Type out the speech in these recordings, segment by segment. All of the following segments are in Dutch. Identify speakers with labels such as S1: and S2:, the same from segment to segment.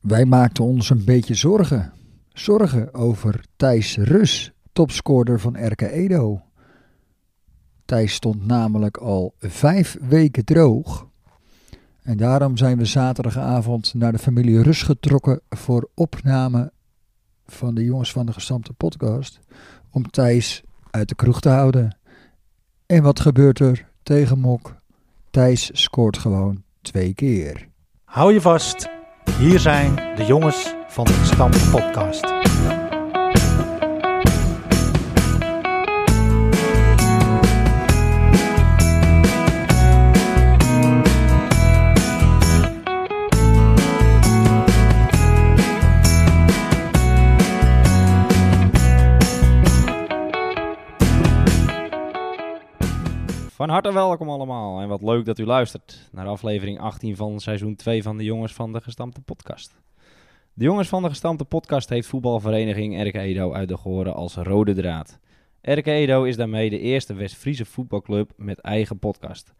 S1: Wij maakten ons een beetje zorgen. Zorgen over Thijs Rus, topscorer van RK Edo. Thijs stond namelijk al vijf weken droog. En daarom zijn we zaterdagavond naar de familie Rus getrokken voor opname van de Jongens van de Gestampte podcast. Om Thijs uit de kroeg te houden. En wat gebeurt er tegen Mok? Thijs scoort gewoon twee keer.
S2: Hou je vast. Hier zijn de jongens van de Gestampte Podcast.
S3: Van harte welkom allemaal en wat leuk dat u luistert naar aflevering 18 van seizoen 2 van de Jongens van de Gestampte Podcast. De Jongens van de Gestampte Podcast heeft voetbalvereniging RK Edo uit de Goren als rode draad. RK Edo is daarmee de eerste West-Friese voetbalclub met eigen podcast.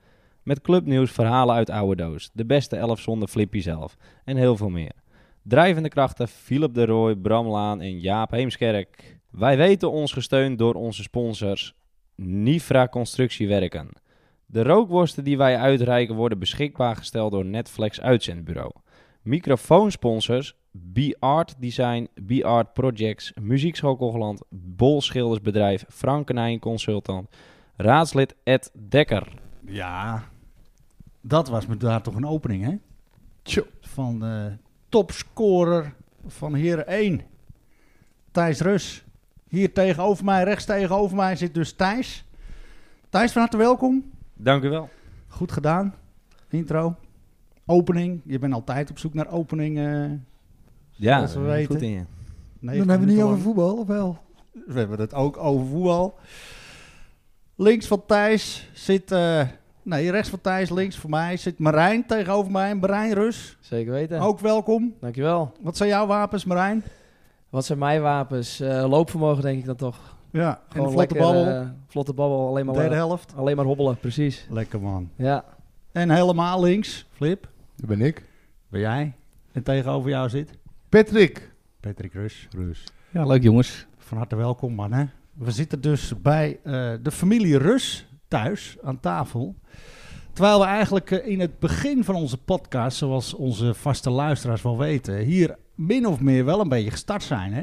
S3: Met clubnieuws, verhalen uit oude doos, de beste elf zonder Flippy zelf en heel veel meer. Drijvende krachten Philip de Rooij, Bram Laan en Jaap Heemskerk. Wij weten ons gesteund door onze sponsors Nifra Constructiewerken. De rookworsten die wij uitreiken worden beschikbaar gesteld door Netflix Uitzendbureau. Microfoonsponsors B-Art Design, B-Art Projects, Muziekschool Kogeland, Bol Schildersbedrijf, Frankenijn Consultant, raadslid Ed Dekker.
S2: Ja, dat was me daar toch een opening, hè? Van de topscorer van Heren 1, Thijs Rus. Hier tegenover mij, rechts tegenover mij zit dus Thijs. Thijs, van harte welkom.
S3: Dank u wel.
S2: Goed gedaan. Intro. Opening. Je bent altijd op zoek naar opening. eh,
S3: Ja,
S2: Zoals we
S3: dat is
S2: weten.
S3: goed in je.
S1: Dan
S2: 90
S1: hebben we het niet
S2: minuten
S1: over
S2: lang.
S1: voetbal, of wel?
S2: We hebben het ook over voetbal. Links van Thijs zit. eh, nee, rechts van Thijs, links van mij zit Marijn tegenover mij. Marijn Rus.
S4: Zeker weten.
S2: Ook welkom.
S4: Dankjewel.
S2: Wat zijn jouw wapens, Marijn?
S4: Wat zijn mijn wapens? Eh, loopvermogen denk ik dan toch.
S2: Ja, en
S4: Gewoon
S2: een vlotte
S4: lekker,
S2: babbel.
S4: eh, vlotte babbel, alleen maar,
S2: derde helft.
S4: alleen maar hobbelen, precies.
S2: Lekker man.
S4: Ja,
S2: En helemaal links, Flip.
S5: Dat ben ik.
S2: Ben jij? En tegenover jou zit
S5: Patrick.
S2: Patrick Rus.
S5: Rus.
S6: Ja, leuk jongens.
S2: Van harte welkom, man. Hè? We zitten dus bij eh, de familie Rus thuis aan tafel. Terwijl we eigenlijk eh, in het begin van onze podcast, zoals onze vaste luisteraars wel weten, hier min of meer wel een beetje gestart zijn. Hè?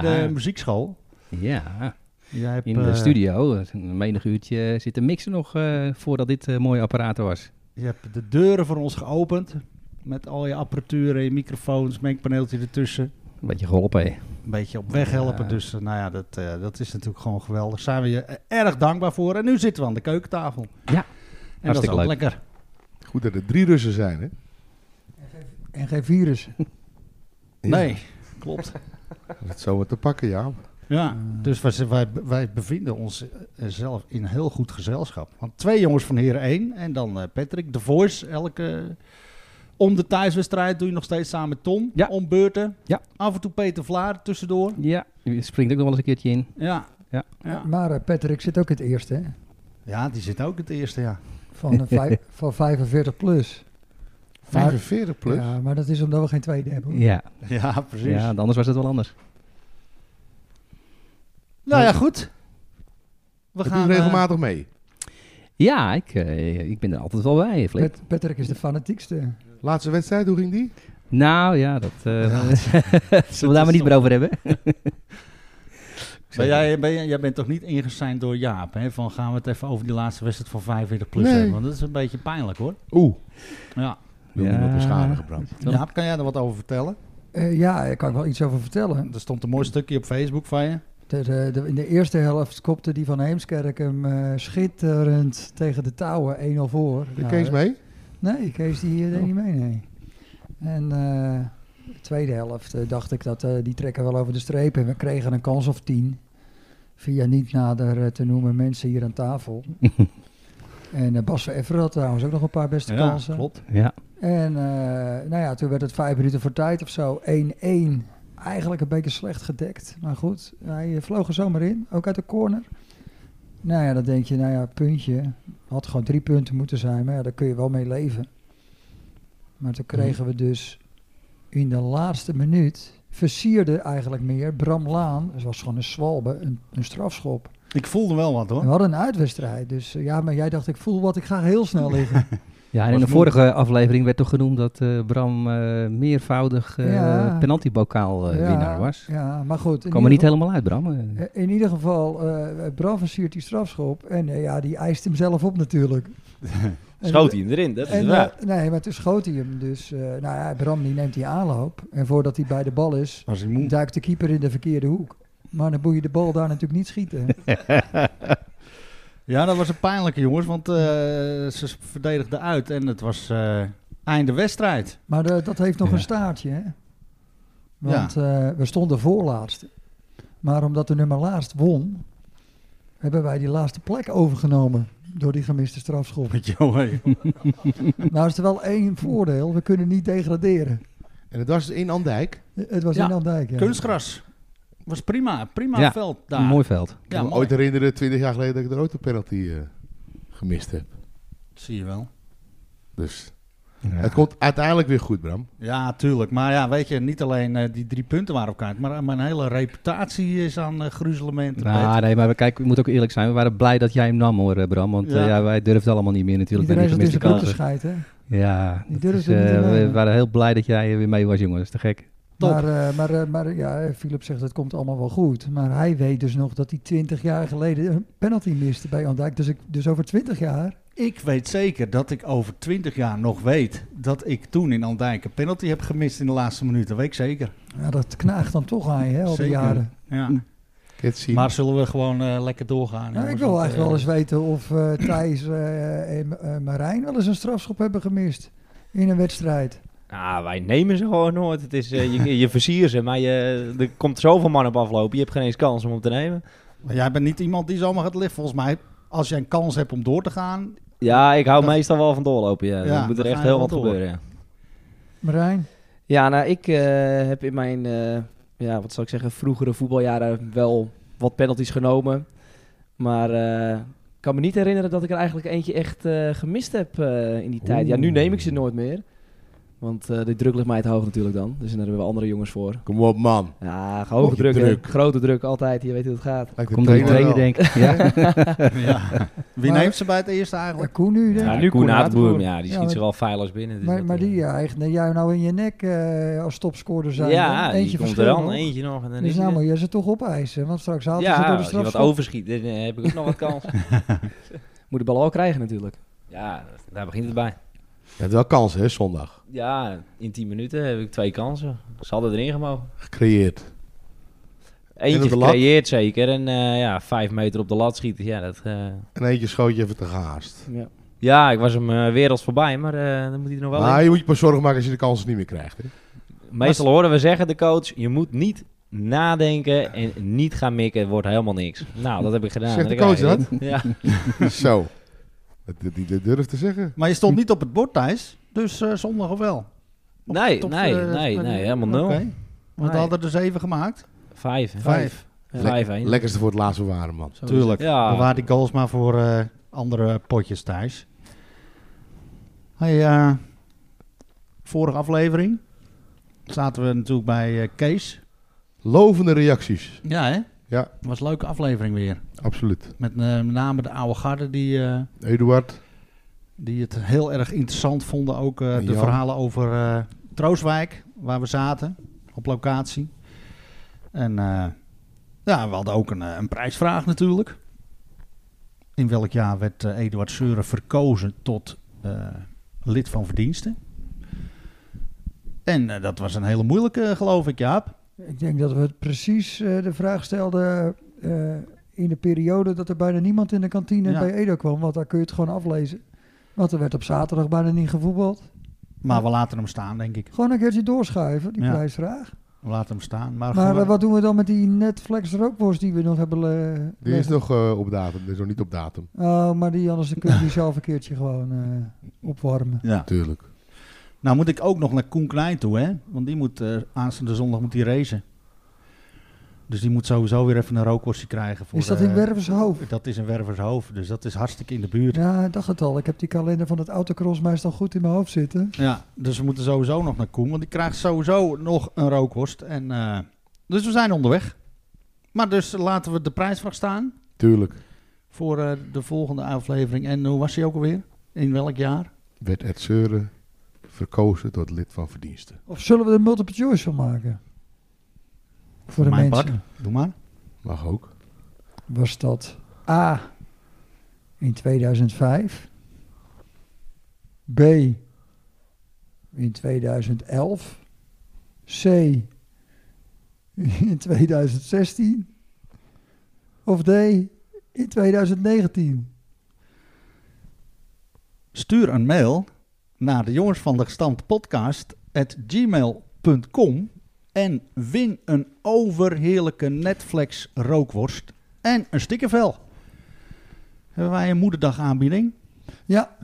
S2: Bij de muziekschool.
S6: ja,
S2: Jij hebt,
S6: in de
S2: eh,
S6: studio. Een menig uurtje zitten mixen nog eh, voordat dit eh, mooie apparaat was.
S2: Je hebt de deuren voor ons geopend. Met al je apparatuur, en je microfoons, mengpaneeltje ertussen.
S6: Een beetje geholpen, hè.
S2: Een beetje op weg helpen.
S6: Ja.
S2: Dus eh, nou ja, dat, eh, dat is natuurlijk gewoon geweldig. Zijn we je eh, erg dankbaar voor. En nu zitten we aan de keukentafel.
S6: Ja,
S2: en dat is
S6: hartstikke
S2: ook
S6: leuk.
S2: lekker.
S5: Goed dat er drie Russen zijn, hè?
S1: En geen virus.
S2: Nee, klopt.
S5: Dat is het zomaar te pakken, ja.
S6: Eh.
S2: Ja, dus wij, z- wij, wij bevinden ons eh, zelf in heel goed gezelschap. Want twee jongens van Heren 1 en dan eh, Patrick, de Voice. Elke, om de thuiswedstrijd doe je nog steeds samen met Tom.
S6: Ja.
S2: Om beurten.
S6: Ja.
S2: Af en toe Peter Vlaar tussendoor.
S6: Ja, je springt ook nog wel eens een keertje in.
S2: Ja.
S6: Ja.
S2: ja.
S1: Maar eh, Patrick zit ook in het eerste, hè?
S2: Ja, die zit ook het eerste, ja.
S1: Van, eh, vijf- van 45 plus. Maar-
S5: 45 plus.
S1: Ja, maar dat is omdat we geen tweede hebben. hoor.
S6: Ja,
S2: Ja, precies.
S6: ja want anders was het wel anders.
S2: Nou ja, goed. We
S5: We
S2: gaan eh,
S5: gaan regelmatig mee.
S6: Ja, ik, eh, ik ben er altijd wel bij, Flip.
S1: Pat- Patrick is de fanatiekste.
S5: Laatste wedstrijd, hoe ging die?
S6: Nou ja, dat eh, zullen we daar maar niet meer over hebben.
S2: eh, ben jij, ben jij, jij bent toch niet ingeseind door Jaap, hè? Van gaan we het even over die laatste wedstrijd van 45 plus
S5: Nee.
S2: hebben. Want dat is een beetje pijnlijk, hoor.
S5: Oeh,
S2: Ja.
S5: wil
S6: Ja.
S5: iemand beschadigen, Bram.
S2: Jaap, kan jij er wat over vertellen?
S1: Eh, ja, daar kan ik wel iets over vertellen.
S2: Er stond een mooi stukje op Facebook van je.
S1: De, de, de- in de eerste helft kopte die van Heemskerk hem eh, schitterend tegen de touwen 1-0 voor.
S5: De
S1: Nou,
S5: Kees
S1: eh,
S5: mee?
S1: Nee, Kees die eh, deed niet mee, nee. En eh, de tweede helft eh, dacht ik dat eh, die trekken wel over de streep. En we kregen een kans of tien. Via niet nader eh, te noemen mensen hier aan tafel. en eh, Bas van Efferen had trouwens ook nog een paar beste kansen.
S2: klopt.
S6: Ja,
S1: En eh, nou ja, toen werd het vijf minuten voor tijd of zo. 1-1. Eigenlijk een beetje slecht gedekt. Maar goed, hij eh, vloog er zomaar in. Ook uit de corner. Nou ja, dan denk je, nou ja, puntje. Had gewoon drie punten moeten zijn. Maar ja, daar kun je wel mee leven. Maar toen kregen we dus in de laatste minuut versierde eigenlijk meer Bram Laan. Het was gewoon een zwalbe, een, een strafschop.
S2: Ik voelde wel wat
S1: En
S2: hoor.
S1: we hadden een uitwedstrijd. Dus eh, ja, maar jij dacht, ik voel wat, ik ga heel snel liggen.
S6: Ja, en in
S2: Was
S6: de
S2: moe.
S6: vorige aflevering werd toch genoemd dat eh, Bram eh, meervoudig eh
S1: Ja.
S6: penaltybokaal eh,
S1: Ja,
S6: winnaar was.
S1: Ja, maar goed. in
S6: Kwam er niet
S1: ieder
S6: helemaal uit, Bram. eh.
S1: geval- eh, In ieder geval, eh Bram versiert die strafschop. En eh, ja, die eist hem zelf op natuurlijk. En-
S3: Schoot hij hem erin, dat is
S1: En,
S3: het waar.
S1: eh, nee, maar toen schoot hij hem. Dus eh, nou ja, Bram die neemt die aanloop. En voordat hij bij de bal is,
S2: Was hij moe?
S1: duikt de keeper in de verkeerde hoek. Maar dan moet je de bal daar natuurlijk niet schieten.
S2: Ja, dat was een pijnlijke jongens, want eh, ze verdedigden uit en het was eh, einde wedstrijd.
S1: Maar eh, dat heeft nog
S6: Ja.
S1: een staartje, hè? Want eh, we stonden voorlaatst. Maar omdat de nummer laatst won, hebben wij die laatste plek overgenomen door die gemiste strafschop.
S2: Met Johan.
S1: nou is er wel één voordeel, we kunnen niet degraderen.
S5: En het was in Andijk.
S1: Het was
S2: Ja,
S1: in Andijk, ja.
S2: Kunstgras. Was prima, prima
S6: Ja,
S2: veld daar.
S6: Een mooi veld.
S5: Ik
S2: Ja,
S5: kan me
S2: mooi.
S5: ooit herinneren, 20 jaar geleden, dat ik er ooit een penalty eh, gemist heb.
S2: Zie je wel.
S5: Dus
S6: Ja.
S5: het komt uiteindelijk weer goed, Bram.
S2: Ja, tuurlijk. Maar ja, weet je, niet alleen eh, die drie punten waren op kaart, maar eh, mijn hele reputatie is aan eh gruzelementen.
S6: Nou, nee, maar we- kijk, ik moet ook eerlijk zijn. We waren blij dat jij hem nam, hoor, eh, Bram. Want eh,
S2: Ja.
S6: ja. wij durfden allemaal niet meer natuurlijk. bij
S1: Iedereen
S6: die
S1: zat in zijn broek
S6: gemiste kansen.
S1: gescheid, hè?
S6: Ja,
S1: Die
S6: dat is,
S1: durfden niet
S6: eh,
S1: te
S6: we
S1: nemen.
S6: waren heel blij dat jij er weer mee was, jongen. Dat is te gek.
S2: Top.
S1: Maar, eh, maar, eh, maar ja, Philip zegt het komt allemaal wel goed. Maar hij weet dus nog dat hij 20 jaar geleden een penalty miste bij Andijk. Dus, ik, dus over 20 jaar.
S2: Ik weet zeker dat ik over twintig jaar nog weet dat ik toen in Andijk een penalty heb gemist in de laatste minuut. Dat weet ik zeker.
S1: Ja, dat knaagt dan toch aan je, hè, al die
S2: Zeker.
S1: jaren.
S2: Ja.
S5: Kun je het zien?
S2: Maar zullen we gewoon eh, lekker
S1: Nou,
S2: doorgaan?
S1: ik
S2: jongens?
S1: wil
S2: Want,
S1: eigenlijk wel
S2: eh,
S1: eens weten of eh, Thijs eh, en eh, Marijn wel eens een strafschop hebben gemist in een wedstrijd.
S3: Nou, wij nemen ze gewoon nooit. Het is, eh, je, je versier ze, maar je, er komt zoveel man op aflopen. Je hebt geen eens kans om hem te nemen.
S2: Maar jij bent niet iemand die zomaar gaat liggen. Volgens mij, als je een kans hebt om door te gaan.
S3: Ja, ik hou
S2: Dat-
S3: meestal wel van doorlopen. Ja.
S2: Ja,
S3: er moet
S2: dan
S3: er echt
S2: ga je
S3: heel
S2: wel
S3: wat
S2: door.
S3: gebeuren. Ja.
S1: Marijn,
S4: Ja, nou, ik eh, heb in mijn, eh, ja, wat zal ik zeggen, vroegere voetbaljaren wel wat penalties genomen. Maar eh, ik kan me niet herinneren dat ik er eigenlijk eentje echt eh, gemist heb eh, in die tijd. Ja, nu neem ik ze nooit meer. Want eh de druk ligt mij te hoog natuurlijk dan. Dus daar hebben we andere jongens voor.
S5: Kom op, man.
S4: Ja, hoge
S5: je
S4: druk, hè.
S5: druk.
S4: Grote druk, altijd. Je weet hoe het gaat.
S5: Lijkt de
S6: Komt door de
S5: trainer
S6: trainer,
S5: wel.
S6: denk ik. Ja.
S2: ja. Wie
S1: Maar-
S2: neemt ze bij het eerste
S1: ja,
S2: eigenlijk?
S1: Koen nu. denk ik.
S3: Ja, nu Koen
S4: Atenboer.
S3: Atenboer, ja, die
S1: Ja,
S3: schiet
S1: maar-
S3: zich al veilig als binnen. dus
S1: maar,
S3: dat,
S1: maar
S3: eh,
S1: die ja, echt, nee, jij nou in je nek eh, als topscorer zijn.
S3: ja,
S1: hè?
S3: die komt er
S1: verschil
S3: dan.
S1: nog.
S3: Eentje nog. En dan
S1: Dus
S3: is hij
S1: nou
S3: er.
S1: moet je ze toch opeisen, want straks haalt hij ze
S3: ja,
S1: door de
S3: als je wat
S1: strafschop.
S3: overschiet, dan eh, heb ik ook nog wat kans.
S4: Moet de bal al krijgen natuurlijk.
S3: Ja, daar begint het bij.
S5: Je hebt wel kans, hè, zondag.
S3: Ja, in 10 minuten heb ik twee kansen. Ze hadden erin gemogen.
S5: Gecreëerd. En
S3: Eentje
S5: op de lat?
S3: gecreëerd zeker. En eh, ja, vijf meter op de lat schieten. Ja, dat, eh,
S5: En eentje schoot je even te gehaast.
S4: Ja.
S3: ja ik was hem eh, werelds voorbij, maar eh, dan moet hij er nog wel in.
S5: Maar je moet je pas zorgen maken als je de kansen niet meer krijgt. Hè?
S3: Meestal horen we zeggen, de coach, je moet niet nadenken en niet gaan mikken. Het wordt helemaal niks. Nou, dat heb ik gedaan.
S5: Zegt
S3: En
S5: de coach
S3: krijg je dit. Ja.
S5: Zo. Dat, dat, die- dat durft te zeggen.
S2: Maar je stond niet op het bord, Thijs. Dus eh, zondag of wel? Op-
S3: Nee,
S2: tot,
S3: nee,
S2: eh,
S3: nee,
S2: maar-
S3: nee, helemaal nul.
S2: Oké. Want we
S3: Nee.
S2: hadden er zeven gemaakt.
S3: Vijf. hè?
S2: Vijf.
S3: Vijf, één.
S5: Lekkerste voor het laatst bewaren, man.
S4: Zo is
S2: Tuurlijk.
S3: Ja.
S2: Bewaar die goals maar voor eh, andere potjes thuis. Hey, eh, vorige aflevering zaten we natuurlijk bij eh, Kees.
S5: Lovende reacties.
S2: Ja, hè?
S5: Ja.
S2: Was een leuke aflevering weer.
S5: Absoluut.
S2: Met eh, met name de oude garde die... eh,
S5: Eduard.
S2: Die het heel erg interessant vonden. Ook eh, de
S5: Ja.
S2: verhalen over eh, Troostwijk, waar we zaten op locatie. En eh, ja, we hadden ook een, eh, een prijsvraag natuurlijk. In welk jaar werd eh, Eduard Seuren verkozen tot eh, lid van verdiensten? En eh, dat was een hele moeilijke, eh, geloof ik, Jaap.
S1: Ik denk dat we het precies eh, de vraag stelden eh, in de periode dat er bijna niemand in de kantine
S2: Ja.
S1: bij Edo kwam. Want daar kun je het gewoon aflezen. Want er werd op zaterdag bijna niet gevoetbald.
S2: Maar we laten hem staan, denk ik.
S1: Gewoon een keertje doorschuiven, die
S2: Ja. Nou,
S1: prijsvraag.
S2: We laten hem staan. Maar,
S1: Maar
S2: gewoon-
S1: eh, wat doen we dan met die Netflix rookworst die we nog hebben eh,
S5: Die is
S1: liggen?
S5: nog eh, op datum. Die is nog niet op datum.
S1: Oh, maar die anders dan kun je die zelf een keertje gewoon eh, opwarmen.
S2: ja.
S5: Tuurlijk.
S2: Nou moet ik ook nog naar Koen Klein toe, hè? Want die moet eh aanstaande zondag moet die racen. Dus die moet sowieso weer even een rookworstje krijgen. Voor,
S1: Is dat in
S2: eh,
S1: Wervershoofd?
S2: Dat is in Wervershoofd, dus dat is hartstikke in de buurt. Ja.
S1: Ja, ik dacht het al. Ik heb die kalender van het autocross meestal goed in mijn hoofd zitten.
S2: dus we moeten sowieso nog naar Koen, want die krijgt sowieso nog een rookworst. En, eh, dus we zijn onderweg. Maar dus laten we de prijsvraag staan
S5: Tuurlijk.
S2: voor eh, de volgende aflevering. En hoe was die ook alweer? In welk jaar?
S5: Werd Ed Seuren verkozen tot lid van verdiensten.
S1: Of zullen we er multiple choice van maken? Voor de
S2: Mijn
S1: mensen.
S2: Doe maar.
S5: Mag ook.
S1: Was dat A in 2005? B in 2011? C in 2016? Of D in 2019?
S2: Stuur een mail naar de jongens van de gestampte podcast at gmail.com en win een overheerlijke Netflix rookworst en een stickervel. Hebben wij een moederdag aanbieding?
S1: Ja,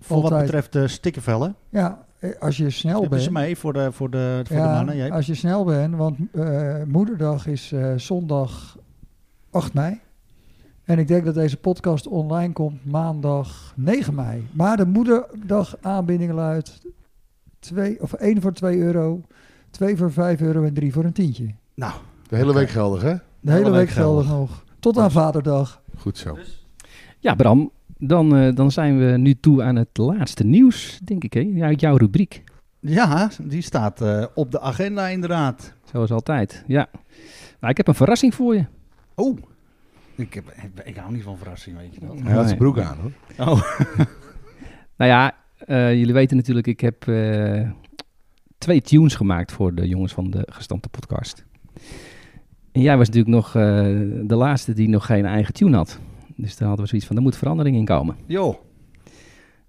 S2: Voor wat
S1: Altijd.
S2: betreft de stickervellen.
S1: ja, eh, als je snel
S2: Hebben
S1: bent.
S2: ze mee voor de, voor de, voor de
S1: Ja,
S2: mannen? Jij-
S1: als je snel bent, want eh, moederdag is eh, zondag 8 mei. En ik denk dat deze podcast online komt maandag 9 mei. Maar de moederdag aanbinding luidt 2, of 1 voor 2 euro, 2 voor 5 euro en 3 voor een tientje.
S5: De hele week geldig, hè?
S1: De hele week geldig nog. Tot aan Vaderdag.
S5: Goed zo.
S6: Ja, Bram, dan, eh, dan zijn we nu toe aan het laatste nieuws, denk ik, hè? uit jouw rubriek.
S2: Ja, die staat eh, op de agenda inderdaad.
S6: Zoals altijd, ja. Nou, ik heb een verrassing voor je.
S2: Oh, ik, heb, ik, ik hou niet van verrassing, weet je dat.
S5: Hij had zijn
S6: Nee.
S5: broek aan, hoor.
S2: Oh,
S6: Nou ja, eh, jullie weten natuurlijk, ik heb eh, twee tunes gemaakt voor de jongens van de gestampte podcast. En jij was natuurlijk nog eh, de laatste die nog geen eigen tune had. Dus daar hadden we zoiets van, er moet verandering in komen.
S2: joh.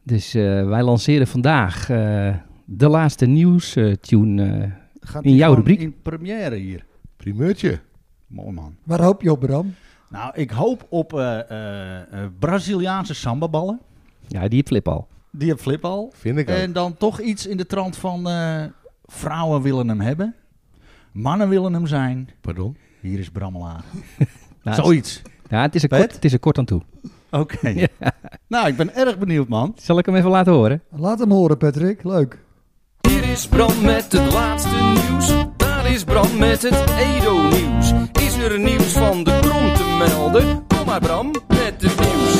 S6: Dus eh, wij lanceren vandaag eh, de laatste nieuws eh, tune. eh.
S2: Gaat
S6: In
S2: die
S6: jouw
S2: gewoon
S6: rubriek?
S2: In première hier.
S5: Primeurtje.
S2: Mooi man.
S1: Waar hoop je op, Bram?
S2: Nou, ik hoop op eh, eh, eh, Braziliaanse sambaballen.
S6: ja, die flip al.
S2: Die heb Flip al.
S5: Vind ik ook.
S2: En dan toch iets in de trant van eh, vrouwen willen hem hebben. Mannen willen hem zijn.
S5: Pardon?
S2: Hier is Brammelaar.
S6: Nou, het,
S2: Zoiets.
S6: is- nou, het, is er
S2: Pet?
S6: kort, het is er kort aan toe.
S2: Oké. Nou, ik ben erg benieuwd, man.
S6: Zal ik hem even laten horen?
S1: Laat hem horen, Patrick. Leuk.
S7: Hier is Bram met het laatste nieuws. Daar is Bram met het Edo-nieuws. Is er nieuws van de krom te melden? Kom maar Bram met het nieuws.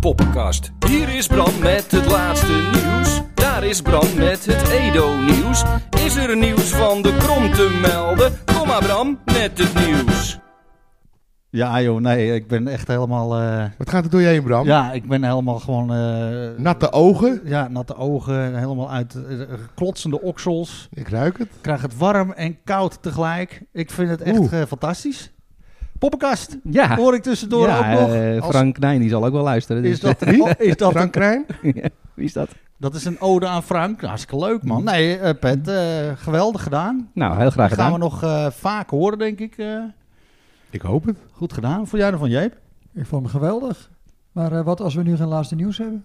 S7: Poppenkast. Hier is Bram met het laatste nieuws. Daar is Bram met het Edo-nieuws. Is er nieuws van de krom te melden? Kom maar Bram met het nieuws.
S2: Ja, joh, nee, ik ben echt helemaal. eh,
S5: Wat gaat er door je heen, Bram?
S2: ja, ik ben helemaal gewoon. eh,
S5: Natte ogen.
S2: ja, natte ogen, helemaal uit eh, klotsende oksels.
S5: Ik ruik het.
S2: Ik krijg het warm en koud tegelijk. Ik vind het echt
S5: Oeh.
S2: eh, fantastisch. Poppenkast,
S6: Ja.
S2: hoor ik tussendoor
S6: ja,
S2: ook nog.
S6: eh,
S2: Als-
S6: Frank Nijn die zal ook wel luisteren.
S2: Is
S6: Dus,
S2: dat, oh, is dat,
S5: Frank Krijn.
S6: Wie is dat?
S2: dat is een ode aan Frank. Hartstikke leuk, man. Nee, eh, Pet, eh, geweldig gedaan.
S6: Nou, heel graag
S2: Dat gaan
S6: gedaan.
S2: we nog eh, vaak horen, denk ik. eh.
S5: Ik hoop het.
S2: goed gedaan. Vond jij ervan, Jeep?
S1: Ik vond hem geweldig. Maar eh, wat als we nu geen laatste nieuws hebben?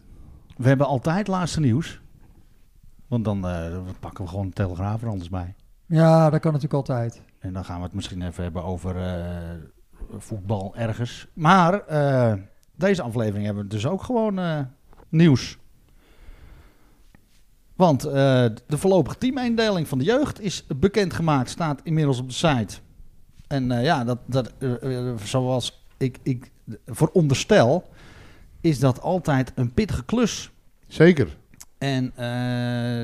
S2: We hebben altijd laatste nieuws. Want dan eh, pakken we gewoon de Telegraaf er anders bij.
S1: Ja, dat kan natuurlijk altijd.
S2: En dan gaan we het misschien even hebben over eh, voetbal ergens. Maar eh, deze aflevering hebben we dus ook gewoon eh, nieuws. Want eh, de voorlopige teameindeling van de jeugd is bekendgemaakt, staat inmiddels op de site. En eh, ja, dat, dat, eh, eh, zoals ik, ik veronderstel, is dat altijd een pittige klus.
S5: Zeker.
S2: En eh,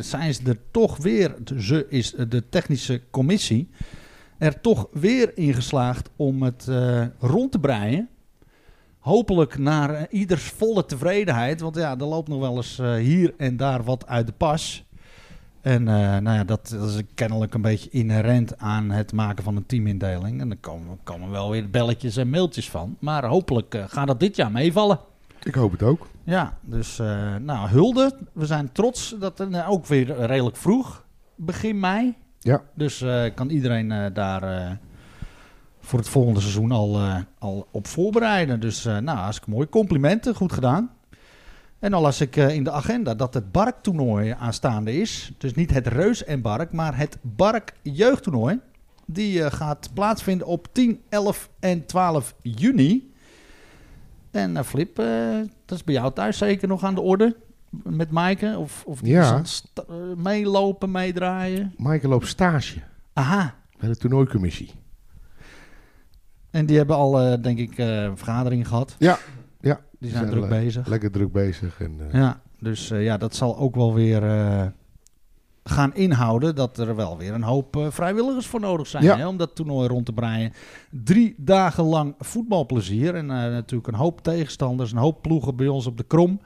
S2: zijn ze er toch weer, ze is de technische commissie, er toch weer in geslaagd om het eh, rond te breien. Hopelijk naar eh, ieders volle tevredenheid, want ja, er loopt nog wel eens eh, hier en daar wat uit de pas. En eh, nou ja, dat, dat is kennelijk een beetje inherent aan het maken van een teamindeling. En daar komen, komen wel weer belletjes en mailtjes van. Maar hopelijk eh, gaat dat dit jaar meevallen.
S5: Ik hoop het ook.
S2: Ja, dus eh, nou, hulde. We zijn trots dat er nou, ook weer redelijk vroeg, begin mei.
S5: Ja.
S2: Dus eh, kan iedereen eh, daar eh, voor het volgende seizoen al, eh, al op voorbereiden. Dus eh nou, hartstikke mooi. Complimenten, goed gedaan. En al las ik eh, in de agenda dat het Bark-toernooi aanstaande is. Dus niet het Reus en Bark, maar het Bark-jeugdtoernooi. Die eh, gaat plaatsvinden op 10, 11 en 12 juni. En eh, Flip, eh, dat is bij jou thuis zeker nog aan de orde. Met Maaike? Of, of
S5: Ja.
S2: is het sta- eh, meelopen, meedraaien?
S5: Michael loopt stage
S2: Aha.
S5: bij de toernooicommissie.
S2: En die hebben al, eh, denk ik, eh vergaderingen gehad.
S5: Ja, ja.
S2: Die zijn
S5: Zijn
S2: druk
S5: le-
S2: bezig.
S5: Lekker druk bezig. En, eh,
S2: Ja, dus eh, ja, dat zal ook wel weer eh, gaan inhouden dat er wel weer een hoop eh, vrijwilligers voor nodig zijn
S5: Ja.
S2: hè, om dat toernooi rond te breien. Drie dagen lang voetbalplezier en eh, natuurlijk een hoop tegenstanders, een hoop ploegen bij ons op de krom.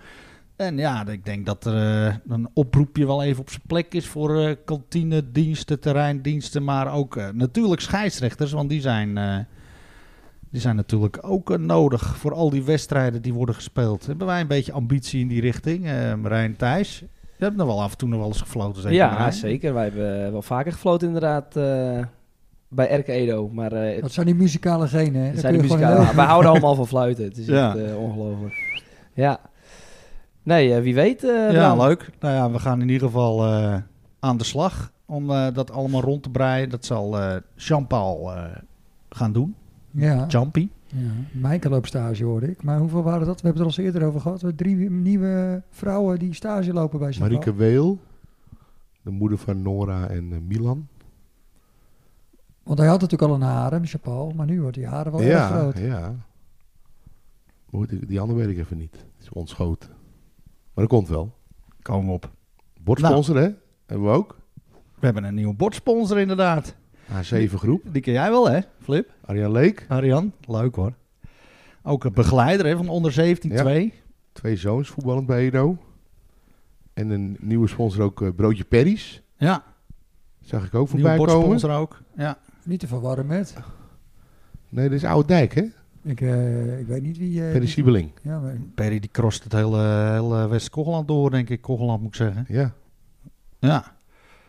S2: En ja, ik denk dat er eh, een oproepje wel even op zijn plek is voor eh kantine, diensten, terreindiensten, maar ook eh, natuurlijk scheidsrechters, want die zijn, eh, die zijn natuurlijk ook eh, nodig voor al die wedstrijden die worden gespeeld. Hebben wij een beetje ambitie in die richting, eh Marijn Thijs? Je hebt nog wel af en toe nog wel eens gefloten, zeker?
S4: ja,
S2: Marijn?
S4: zeker. Wij hebben eh, wel vaker gefloten inderdaad eh, bij RK Edo. Maar eh, het
S1: Dat zijn die muzikale genen. hè?
S4: het
S1: Daar
S4: zijn de
S1: kun je gewoon
S4: muzikale...
S1: heel-
S4: Wij houden allemaal van fluiten. Het is
S2: Ja.
S4: echt eh, ongelooflijk. Ja. Nee, eh, wie weet. eh,
S2: ja,
S4: Bram.
S2: leuk. Nou ja, we gaan in ieder geval eh, aan de slag om eh, dat allemaal rond te breien. Dat zal eh Jean-Paul eh, gaan doen.
S1: Ja,
S2: Jumpy.
S1: ja. Michael loopt stage hoorde ik. Maar hoeveel waren dat? We hebben het er al eens eerder over gehad. We hebben Drie nieuwe vrouwen die stage lopen bij zijn
S5: Marieke Weel, de moeder van Nora en eh, Milan.
S1: Want hij had natuurlijk al een harem, Chapal. Maar nu wordt die
S2: Oh,
S1: harem wel erg
S5: ja,
S1: groot.
S5: ja. Hoe heet die- die andere weet ik even niet. Het is ontschoten. Maar dat komt wel.
S2: Komen we op.
S5: Bordsponsor, hè? Hebben we ook.
S2: We hebben een nieuwe bordsponsor inderdaad.
S5: H7 groep.
S2: Die ken jij wel, hè, Flip?
S5: Arjan Leek.
S2: Arjan, leuk hoor. Ook een begeleider hè, van onder 17
S5: Ja.
S2: 2.
S5: Twee zoons voetballend bij Edo. En een nieuwe sponsor ook, eh, Broodje Perry's.
S2: Ja,
S5: Zag ik
S2: nieuwe
S5: ook voorbij komen.
S2: bordsponsor ook. Ja.
S1: Niet te verwarren met.
S5: Nee, dit is Oude Dijk, hè?
S1: Ik, eh, ik weet niet wie... eh
S5: Perry
S1: die-
S5: Siebeling.
S1: ja, maar
S2: Perry die crost het hele, hele West-Kogeland door, denk ik. Kogeland moet ik zeggen.
S5: Ja.
S2: Ja.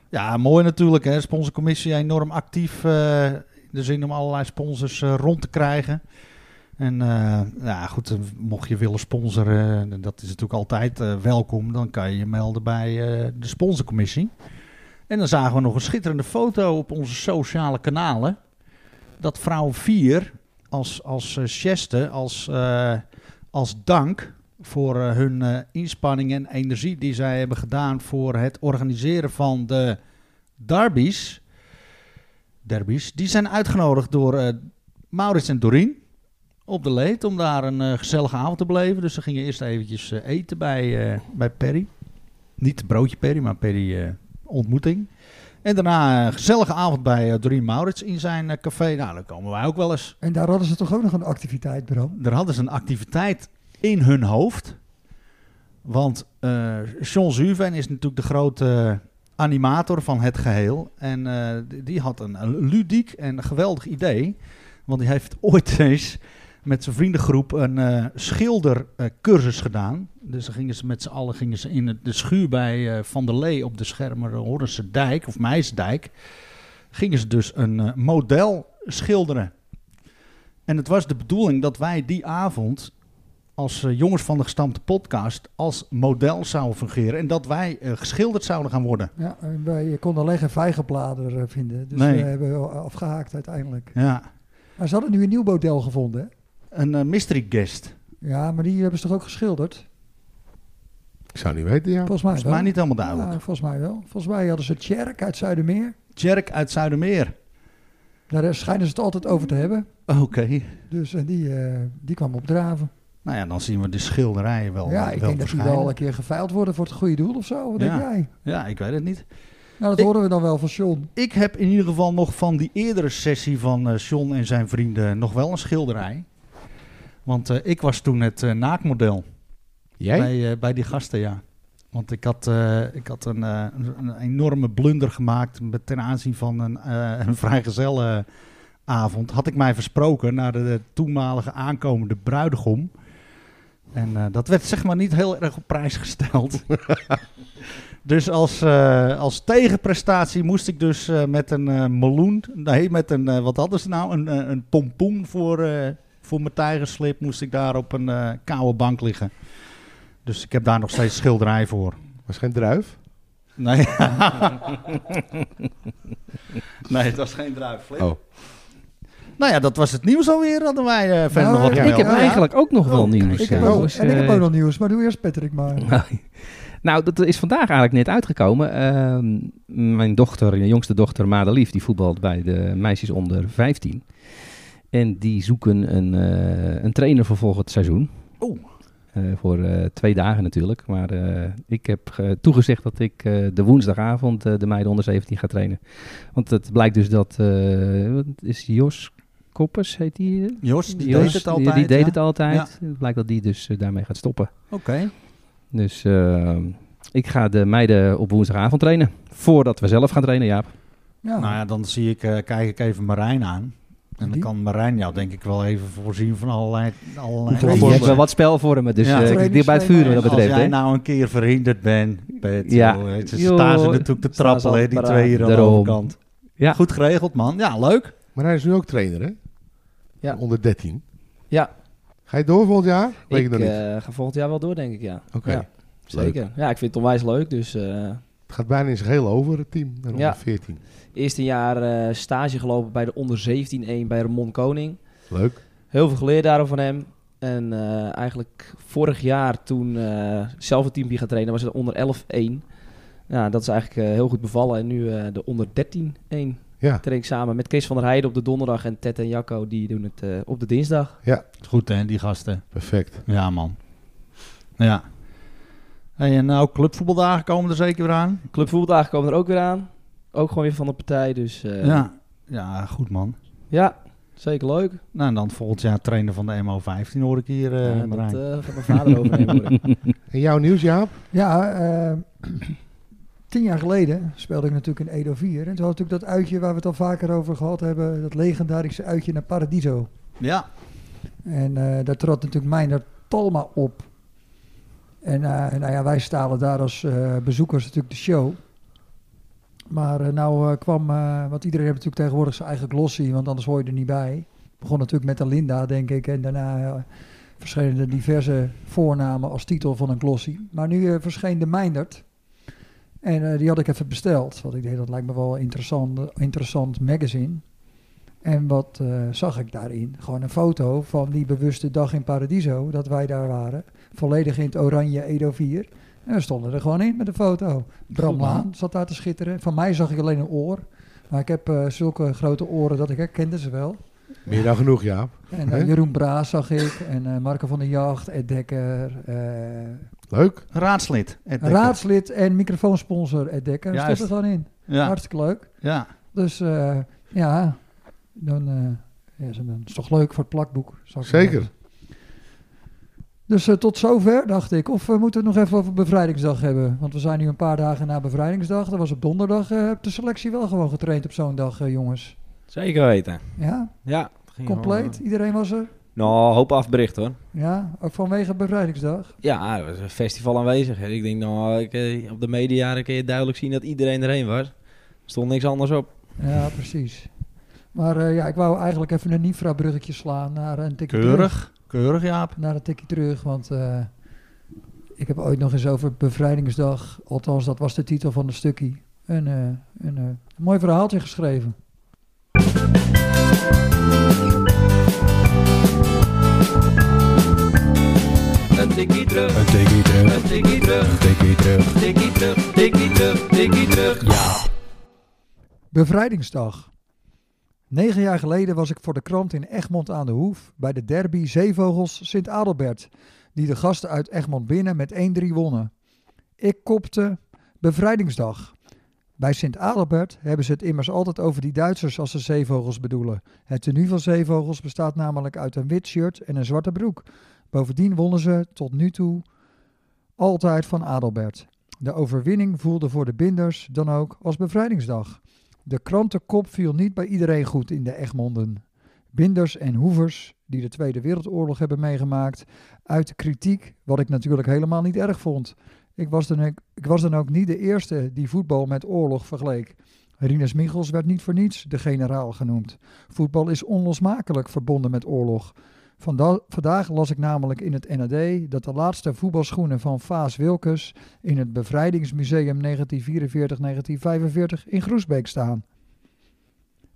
S2: Ja, mooi natuurlijk. Hè. Sponsorcommissie enorm actief. eh, in de zin om allerlei sponsors eh, rond te krijgen. En eh, ja, goed, eh, mocht je willen sponsoren, eh, dat is natuurlijk altijd eh, welkom. Dan kan je je melden bij eh, de sponsorcommissie. En dan zagen we nog een schitterende foto op onze sociale kanalen. Dat vrouw 4 als, als eh, geste, als, eh, als dank voor eh, hun eh, inspanning en energie die zij hebben gedaan voor het organiseren van de derbies. Derbies. Die zijn uitgenodigd door eh, Maurits en Dorien op de leed om daar een eh, gezellige avond te beleven. Dus ze gingen eerst eventjes eh, eten bij, eh, bij Perry. Niet broodje Perry, maar Perry eh, ontmoeting. En daarna een gezellige avond bij eh, Dorien Maurits in zijn eh, café. Nou, daar komen wij ook wel eens.
S1: En daar hadden ze toch ook nog een activiteit, Bram?
S2: Er hadden ze een activiteit in hun hoofd. Want eh Sean Zuven is natuurlijk de grote animator van het geheel. En eh, die- die had een, een ludiek en geweldig idee. Want die heeft ooit eens met zijn vriendengroep een eh, schildercursus gedaan. Dus dan gingen ze met z'n allen gingen ze in het- de schuur bij eh, Van der Lee op de Schermer Horrense Dijk of Meisdijk. Gingen ze dus een eh, model schilderen. En het was de bedoeling dat wij die avond als eh, jongens van de gestampte podcast als model zouden fungeren. En dat wij eh, geschilderd zouden gaan worden.
S1: Ja, en wij- je kon alleen geen vijgenblader eh, vinden. Dus
S2: Nee.
S1: we hebben wel afgehaakt uiteindelijk.
S2: Ja.
S1: Maar ze hadden nu een nieuw model gevonden. hè?
S2: Een eh, mystery guest.
S1: Ah, Ja, maar die hebben ze toch ook geschilderd?
S5: Ik zou niet weten, ja.
S1: Volgens mij
S2: Volgens
S1: wel.
S2: mij niet Nou, helemaal
S1: Ja,
S2: duidelijk.
S1: volgens mij wel. Volgens mij hadden ze Tjerk uit Zuidermeer.
S2: Jerk uit Zuidermeer.
S1: Nou, Daar schijnen ze het altijd over te hebben.
S2: Oké.
S1: Dus eh, die, eh, die kwam opdraven.
S2: Nou ja, dan zien we de schilderijen wel. eh,
S1: ja, ik
S2: wel
S1: denk dat die
S2: verschijnen.
S1: wel een keer geveild worden voor het goede doel of zo. Wat
S2: Ja.
S1: denk jij?
S2: Ja, ik weet het niet.
S1: Nou, dat
S2: Ik-
S1: horen we dan wel van John.
S2: Ik heb in ieder geval nog van die eerdere sessie van eh John en zijn vrienden nog wel een schilderij. Want eh, ik was toen het eh, naakmodel.
S5: Jij?
S2: Bij, eh, bij die gasten, ja. Want ik had, eh, ik had een, eh, een- een enorme blunder gemaakt met- ten aanzien van een, eh een vrijgezellenavond. Had ik mij versproken naar de, toenmalige aankomende bruidegom. En eh, dat werd zeg maar niet heel erg op prijs gesteld. dus als, eh, als tegenprestatie moest ik dus eh, met een eh, meloen... Nee, met een, eh, wat hadden ze nou? Een, eh, een pompoen voor, eh, voor mijn tijgerslip moest ik daar op een eh, koude bank liggen. Dus ik heb daar nog steeds schilderij voor.
S5: Was geen druif?
S2: Nee. nee, het was geen druifvlip.
S5: Oh.
S2: Nou ja, dat was het nieuws alweer. Hadden wij eh, verder
S1: Nou,
S2: nog wat
S1: ik
S2: te
S6: Ik heb
S2: melden.
S1: ja. Oh.
S6: eigenlijk ook nog wel nieuws.
S1: Ik heb
S6: eh,
S1: ook,
S6: dus,
S1: en ik heb
S6: eh,
S1: ook nog nieuws, maar doe eerst Patrick maar.
S6: Nou, dat is vandaag eigenlijk net uitgekomen. Ehm, mijn dochter, mijn jongste dochter Madelief, die voetbalt bij de meisjes onder 15. En die zoeken een, eh, een trainer voor volgend seizoen.
S2: Oeh.
S6: Eh, voor eh, twee dagen natuurlijk. Maar eh, ik heb ge- toegezegd dat ik eh, de woensdagavond eh, de meiden onder 17 ga trainen. Want het blijkt dus dat... eh, wat is Jos Koppers, heet die? eh?
S2: Jos, die
S6: Jos,
S2: deed het altijd.
S6: Die, die deed
S2: ja.
S6: het altijd. Het blijkt dat die dus eh, daarmee gaat stoppen.
S2: Oké.
S6: Dus eh, ik ga de meiden op woensdagavond trainen. Voordat we zelf gaan trainen, Jaap.
S1: Ja.
S2: Nou ja, dan zie ik, eh, kijk ik even Marijn aan. En dan
S1: Die?
S2: kan Marijn jou denk ik wel even voorzien van allerlei... allerlei
S1: Hoeveel
S6: Die
S1: Voorbeeld.
S6: hebben wel wat spel voor me, dus
S2: Ja.
S6: eh, ik zit dicht bij het vuur wat dat
S2: Als
S6: betreft.
S2: jij
S6: hè.
S2: nou een keer verhinderd bent, Pet,
S6: Ja.
S2: joh, het- ze
S6: Joh,
S2: staan ze natuurlijk te
S4: staan ze
S2: trappelen, hè, die
S4: al
S2: twee hier aan de
S6: Daarom.
S2: overkant.
S6: Ja.
S2: Goed geregeld, man. Ja, leuk.
S5: Maar hij is nu ook trainer, hè?
S4: Ja.
S5: Onder 13.
S4: Ja.
S5: Ga je door volgend jaar? Weet ik
S4: Ik
S5: nog niet.
S4: eh, ga volgend jaar wel door, denk ik, ja.
S5: Oké.
S4: Ja, zeker. Ja, ik vind het onwijs leuk. Dus eh,
S5: Het gaat bijna in zijn geheel over, het team. Naar
S4: Ja.
S5: onder 14.
S4: eerst een jaar eh, stage gelopen bij de onder 17-1 bij Ramon Koning.
S5: Leuk.
S4: Heel veel geleerd daarom van hem. En eh, eigenlijk vorig jaar toen eh, zelf het teampje gaan trainen, was het onder 11-1. Ja, dat is eigenlijk eh, heel goed bevallen. En nu eh, de onder 13-1
S5: Ja.
S4: train ik samen met Chris van der Heijden op de donderdag. En Ted en Jacco die doen het eh, op de dinsdag.
S2: Goed hè, die gasten.
S5: Perfect.
S2: Ja, man. Ja. Hey, en nou, clubvoetbaldagen komen er zeker weer aan.
S4: Clubvoetbaldagen komen er ook weer aan. Ook gewoon weer van de partij. Dus eh,
S2: Ja. Ja, goed man.
S4: ja, zeker leuk.
S2: Nou, en dan volgend jaar trainer van de MO15 hoor ik hier, eh,
S4: Ja,
S2: Marijn.
S4: dat eh, gaat mijn vader overnemen. hoor ik.
S5: En jouw nieuws, Jaap?
S1: Ja, eh, tien jaar geleden speelde ik natuurlijk in Edo 4. En toen had ik dat uitje waar we het al vaker over gehad hebben. Dat legendarische uitje naar Paradiso.
S2: Ja.
S1: En eh, daar trad natuurlijk Meijner Talma op. En eh, nou ja, wij stalen daar als eh, bezoekers natuurlijk de show. Maar eh, nou eh, kwam, eh, want iedereen heeft natuurlijk tegenwoordig zijn eigen glossy, want anders hoor je er niet bij. Begon natuurlijk met Alinda, denk ik. En daarna eh, verschenen er diverse voornamen als titel van een glossy. Maar nu eh, verscheen de Meindert. En eh, die had ik even besteld. Want ik dacht, dat lijkt me wel een interessant, interessant magazine. En wat eh, zag ik daarin? Gewoon een foto van die bewuste dag in Paradiso, dat wij daar waren. Volledig in het oranje Edo 4. En we stonden er gewoon in met een foto. Bram
S2: Goed, man.
S1: Laan zat daar te schitteren. Van mij zag ik alleen een oor. Maar ik heb eh, zulke grote oren dat ik herkende ze wel.
S5: Meer dan genoeg, Jaap.
S1: En eh,
S5: Hè?
S1: Jeroen Braas zag ik. En eh, Marco van der Jacht, Ed Dekker. eh,
S5: Leuk.
S2: Raadslid. Ed Dekker.
S1: raadslid en microfoonsponsor Ed Dekker. Stond
S2: Juist.
S1: er gewoon in.
S2: Ja.
S1: Hartstikke leuk.
S2: ja.
S1: Dus eh, ja, dan eh, ja, dan is het toch leuk voor het plakboek. zou ik
S5: Zeker.
S1: zeggen. Dus eh, tot zover, dacht ik. Of we moeten het nog even over bevrijdingsdag hebben. Want we zijn nu een paar dagen na bevrijdingsdag. Dat was op donderdag. eh, heb de selectie wel gewoon getraind op zo'n dag, eh, jongens.
S3: Zeker weten.
S1: Ja,
S3: Ja. het ging
S1: compleet.
S3: gewoon,
S1: Iedereen was er.
S3: eh, nou, een hoop afbericht hoor.
S1: Ja, ook vanwege bevrijdingsdag.
S3: Ja, er was een festival aanwezig. Ik denk, nou, ik, eh, op de media kun je duidelijk zien dat iedereen erheen was. Er stond niks anders op.
S1: Ja, precies. Maar eh, ja, ik wou eigenlijk even een Nifra-bruggetje slaan naar een tikje terug.
S2: Keurig. Keurig, Jaap.
S1: Naar een tikje terug, want eh, ik heb ooit nog eens over Bevrijdingsdag, althans dat was de titel van het stukje, een, eh, een, eh, mooi verhaaltje geschreven.
S7: Een tikkie terug. Een tikkie terug. Een tikkie terug. Een tikkie terug. Tikkie terug. Tikkie terug.
S1: Bevrijdingsdag. Negen jaar geleden was ik voor de krant in Egmond aan de Hoef bij de derby Zeevogels Sint Adelbert, die de gasten uit Egmond binnen met 1-3 wonnen. Ik kopte Bevrijdingsdag. Bij Sint Adelbert hebben ze het immers altijd over die Duitsers als ze zeevogels bedoelen. Het tenue van zeevogels bestaat namelijk uit een wit shirt en een zwarte broek. Bovendien wonnen ze tot nu toe altijd van Adelbert. De overwinning voelde voor de binders dan ook als bevrijdingsdag. De krantenkop viel niet bij iedereen goed in de Egmonden. Binders en Hoevers, die de Tweede Wereldoorlog hebben meegemaakt, uit kritiek, wat ik natuurlijk helemaal niet erg vond. Ik was dan ook, ik was dan ook niet de eerste die voetbal met oorlog vergeleek. Rinus Michels werd niet voor niets de generaal genoemd. Voetbal is onlosmakelijk verbonden met oorlog. Vanda- vandaag las ik namelijk in het NAD dat de laatste voetbalschoenen van Vaas Wilkes in het Bevrijdingsmuseum 1944-1945 in Groesbeek staan.